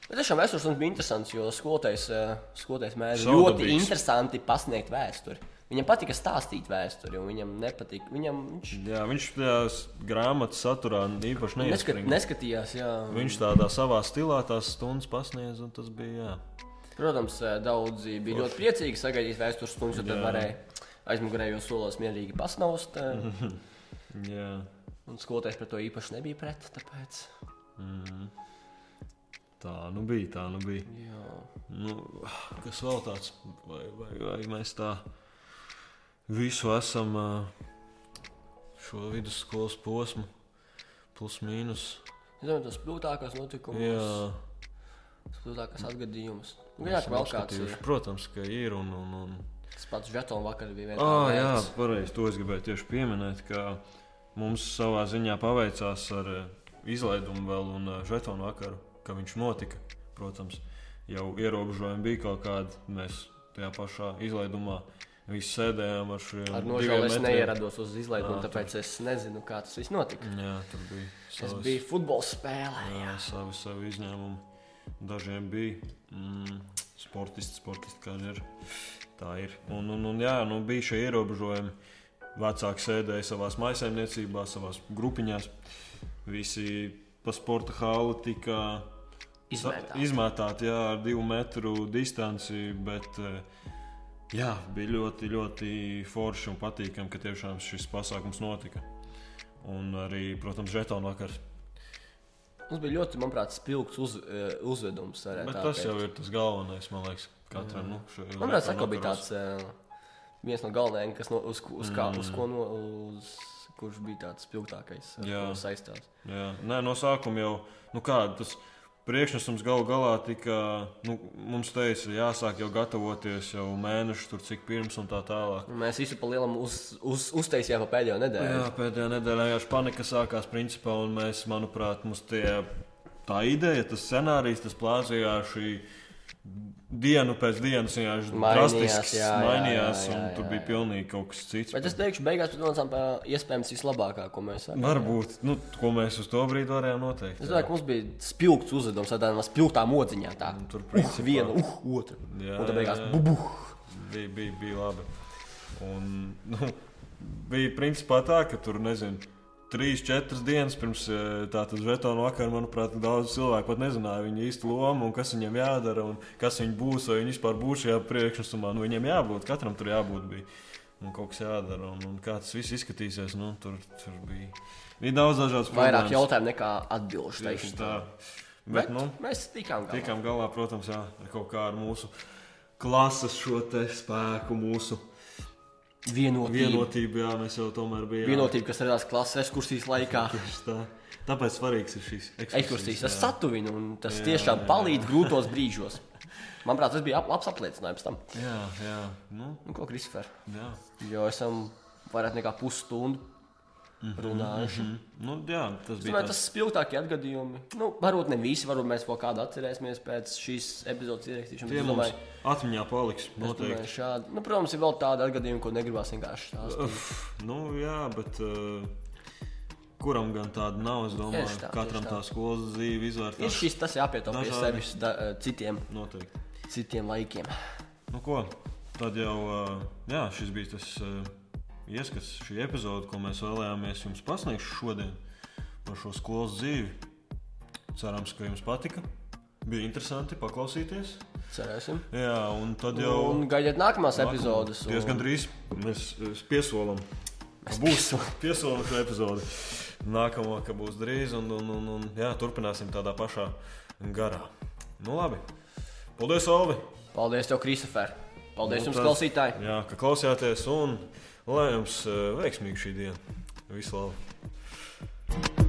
Speaker 2: Bet tiešām vēstures stundas bija interesants, jo skolotājs, eh, skolotājs mēdz ļoti
Speaker 1: Savdabīgs.
Speaker 2: interesanti pasniegt vēsturi. Viņam patika stāstīt vēsturi, un viņam nepatika. Viņam viņš
Speaker 1: Jā, viņš tajās grāmatas saturā īpaši
Speaker 2: neskat,
Speaker 1: neieskatījās.
Speaker 2: neskatījās, jā.
Speaker 1: Viņš tādā savā stilā tās stundas pasniedz, un tas bija. Jā.
Speaker 2: Protams, eh, daudzi bija ļoti priecīgi sagaidīt vēstures stundas, jo tad
Speaker 1: Jā.
Speaker 2: varēja aizmugurējos solos mierīgi pasnaust. eh,
Speaker 1: Jā.
Speaker 2: Un skolotājs par to īpaši nebija pret. Tāpēc,
Speaker 1: Tā nu bija, tā nu bija.
Speaker 2: jā.
Speaker 1: Nu, kas vēl tāds, vai, vai, vai mēs tā visu esam ā, šo vidusskolas posmu, plus mīnus.
Speaker 2: Es domāju, tas grūtākais notikums,
Speaker 1: Jā,
Speaker 2: tas grūtākais atgadījums. Nu, Jā,
Speaker 1: esam
Speaker 2: vēl kāds ir.
Speaker 1: apskatījuši. Protams, ka ir un. un, un...
Speaker 2: Tas pats žetons vakar bija viens.
Speaker 1: Ah, jā, pareizi. To es gribēju tieši pieminēt, ka mums savā ziņā paveicās ar eh, izlaidumu vēl un eh, žetonu vakaru, ka viņš notika. Protams, jau ierobežojumi bija kaut kādi. Mēs tajā pašā izlaidumā visi sēdējām ar šiem
Speaker 2: Ar
Speaker 1: diviem
Speaker 2: nožēlu es
Speaker 1: metriem. Ah,
Speaker 2: neierados uz izlaidumu,
Speaker 1: Ā,
Speaker 2: tāpēc es nezinu, kā tas viss notika.
Speaker 1: Jā, tur bija
Speaker 2: Es
Speaker 1: savas,
Speaker 2: biju futbola spēlē.
Speaker 1: jā, savi, savi izņēmumi. Dažiem bija mm, sportisti, sportisti kā ir. Tā ir. Un, un, un jā, nu, bija šie ierobežojumi. Vecāki sēdēja savā maisaimniecībā, savā grupiņā. Visi pa sporta hālu tika sa-
Speaker 2: Izmētāti.
Speaker 1: izmētāti jā, ar divu metru distanci. Bet, eh, jā, bija ļoti, ļoti forši un patīkami, ka tiešām šis pasākums notika. Un arī, protams, žetonu vakars.
Speaker 2: Mums bija ļoti, manuprāt, spilgts uz, eh, uzvedums. varētu
Speaker 1: Bet
Speaker 2: tā
Speaker 1: tas
Speaker 2: teikt.
Speaker 1: jau ir tas galvenais, man liekas, katram. Nu, šajā
Speaker 2: Manuprāt,
Speaker 1: reka
Speaker 2: tas bija
Speaker 1: vakaros.
Speaker 2: tāds eh, viens no galvenajiem, kas no, uz, ko- uz, kā,
Speaker 1: Mm.
Speaker 2: uz ko no, uz, kurš bija tāds spilgtākais ar
Speaker 1: Jā.
Speaker 2: ko saistāms.
Speaker 1: Jā, nē, no sākuma jau nu kā, tas priekšnesums galu galā tika. Nu, mums teica, jāsāk jau gatavoties jau mēnešu, tur cik pirms un tā tālāk.
Speaker 2: Un Mēs visu pa lielam uz, uz, uztaisījām pa pēdējo nedēļu.
Speaker 1: Jā, pēdējā nedēļā jau šī panika sākās, principā, un mēs, manuprāt, mums tie, tā ideja, tas scenārijs, tas plāzījās šī dienu pēc dienas, jau
Speaker 2: Mainījās,
Speaker 1: drastiski
Speaker 2: jā, jā,
Speaker 1: mainījās,
Speaker 2: jā, jā,
Speaker 1: un
Speaker 2: jā,
Speaker 1: tur
Speaker 2: jā.
Speaker 1: bija pilnīgi kaut kas cits.
Speaker 2: Bet es teikšu, beigās mēs nonācām pie iespējams vislabākā, ko mēs varam.
Speaker 1: Varbūt, nu, ko mēs uz to brīdi varējām noteikt.
Speaker 2: Es domāju, ka mums bija spilgts uzvedums, tādā mazā spilgtā modziņā. Tā
Speaker 1: Un Nu, tur
Speaker 2: uh,
Speaker 1: principā-
Speaker 2: viena, uh, otra.
Speaker 1: Jā,
Speaker 2: un tad beigās
Speaker 1: jā, jā.
Speaker 2: bubuļs.
Speaker 1: bija, bija, bija labi. Un, nu, bija principā tā, ka tur nezinu. Trīs, četras dienas pirms e, tādas žetonu vakara, manuprāt, daudz cilvēku pat nezināja viņa īstu lomu un kas viņam jādara un kas viņš būs. Vai viņš vispār būs šajā priekšnesumā, nu viņam jābūt, katram tur jābūt. Bija. Un kaut kas jādara, un, un kā tas viss izskatīsies, nu, tur, tur bija, bija daudz dažādas
Speaker 2: Vairāk jautājumu nekā atbildšu.
Speaker 1: Tieši
Speaker 2: teikšu
Speaker 1: tā.
Speaker 2: tā.
Speaker 1: Bet, Bet, nu,
Speaker 2: mēs tikām galā.
Speaker 1: Tikām galā, protams, jā, ar kaut kā ar mūsu klases šo te spēku, mūsu
Speaker 2: Vienotība.
Speaker 1: vienotību. Jā, mēs jau tomēr bijām
Speaker 2: Vienotība, kas radās klases ekskursijas laikā.
Speaker 1: Tieši Tā. Tāpēc svarīgs ir šis
Speaker 2: Ekskursijas tas
Speaker 1: jā.
Speaker 2: satuvina un tas
Speaker 1: Jā,
Speaker 2: tiešām
Speaker 1: jā,
Speaker 2: palīdz grūtos brīžos. Manuprāt, tas bija ap- labs apliecinājums tam.
Speaker 1: Jā, jā, nu,
Speaker 2: Nu, ko, Kristofer?
Speaker 1: jā.
Speaker 2: Jo esam vairāk nekā pusstundu runājuši.
Speaker 1: Mm. Nu, jā tas
Speaker 2: Es
Speaker 1: bija
Speaker 2: domāju, tas spilgtākie atgadījumi. Nu, varbūt ne visi, varbūt mēs vēl kādu atcerēsimies pēc šīs epizodes ierakstīšanas.
Speaker 1: Tie
Speaker 2: Es
Speaker 1: mums
Speaker 2: domāju,
Speaker 1: atmiņā paliks
Speaker 2: es domāju,
Speaker 1: noteikti.
Speaker 2: šādi. Nu, protams, ir vēl tādi atgadījumi, ko negribas vienkārši stāstīt.
Speaker 1: Uf, nu, jā, bet uh, kuram gan tāda nav? Es domāju,
Speaker 2: Tieši tā,
Speaker 1: ka katram
Speaker 2: tieši
Speaker 1: tā skolas dzīve
Speaker 2: Ir
Speaker 1: izvērtās.
Speaker 2: šis tas jāpietopā pie
Speaker 1: dažādi.
Speaker 2: sevis da, eh, citiem,
Speaker 1: Noteikti.
Speaker 2: citiem laikiem.
Speaker 1: Nu, ko, tad jau ā, jā, šis bija tas ā, ieskats, šī epizode, ko mēs vēlējāmies jums pasniegt šodien par šo skolas dzīvi. Cerams, ka jums patika. Bija interesanti paklausīties.
Speaker 2: Cerēsim.
Speaker 1: Jā, un tad jau
Speaker 2: Un gaidiet nākamās
Speaker 1: nākamā-
Speaker 2: epizodes. un-
Speaker 1: Diezgan drīz mēs ā, piesolam. ka
Speaker 2: Mēs
Speaker 1: Būs piesolām šo epizodi. Nākamā, ka būs drīz, un, un, un, un jā, turpināsim tādā pašā garā. Nu, labi. Paldies, Olvi!
Speaker 2: Paldies, tev, Kristofer. Paldies
Speaker 1: Un
Speaker 2: jums,
Speaker 1: Nu, tas-
Speaker 2: klausītāji!
Speaker 1: Jā, ka klausījāties un lai jums eh, veiksmīgi šī diena. Visu labu!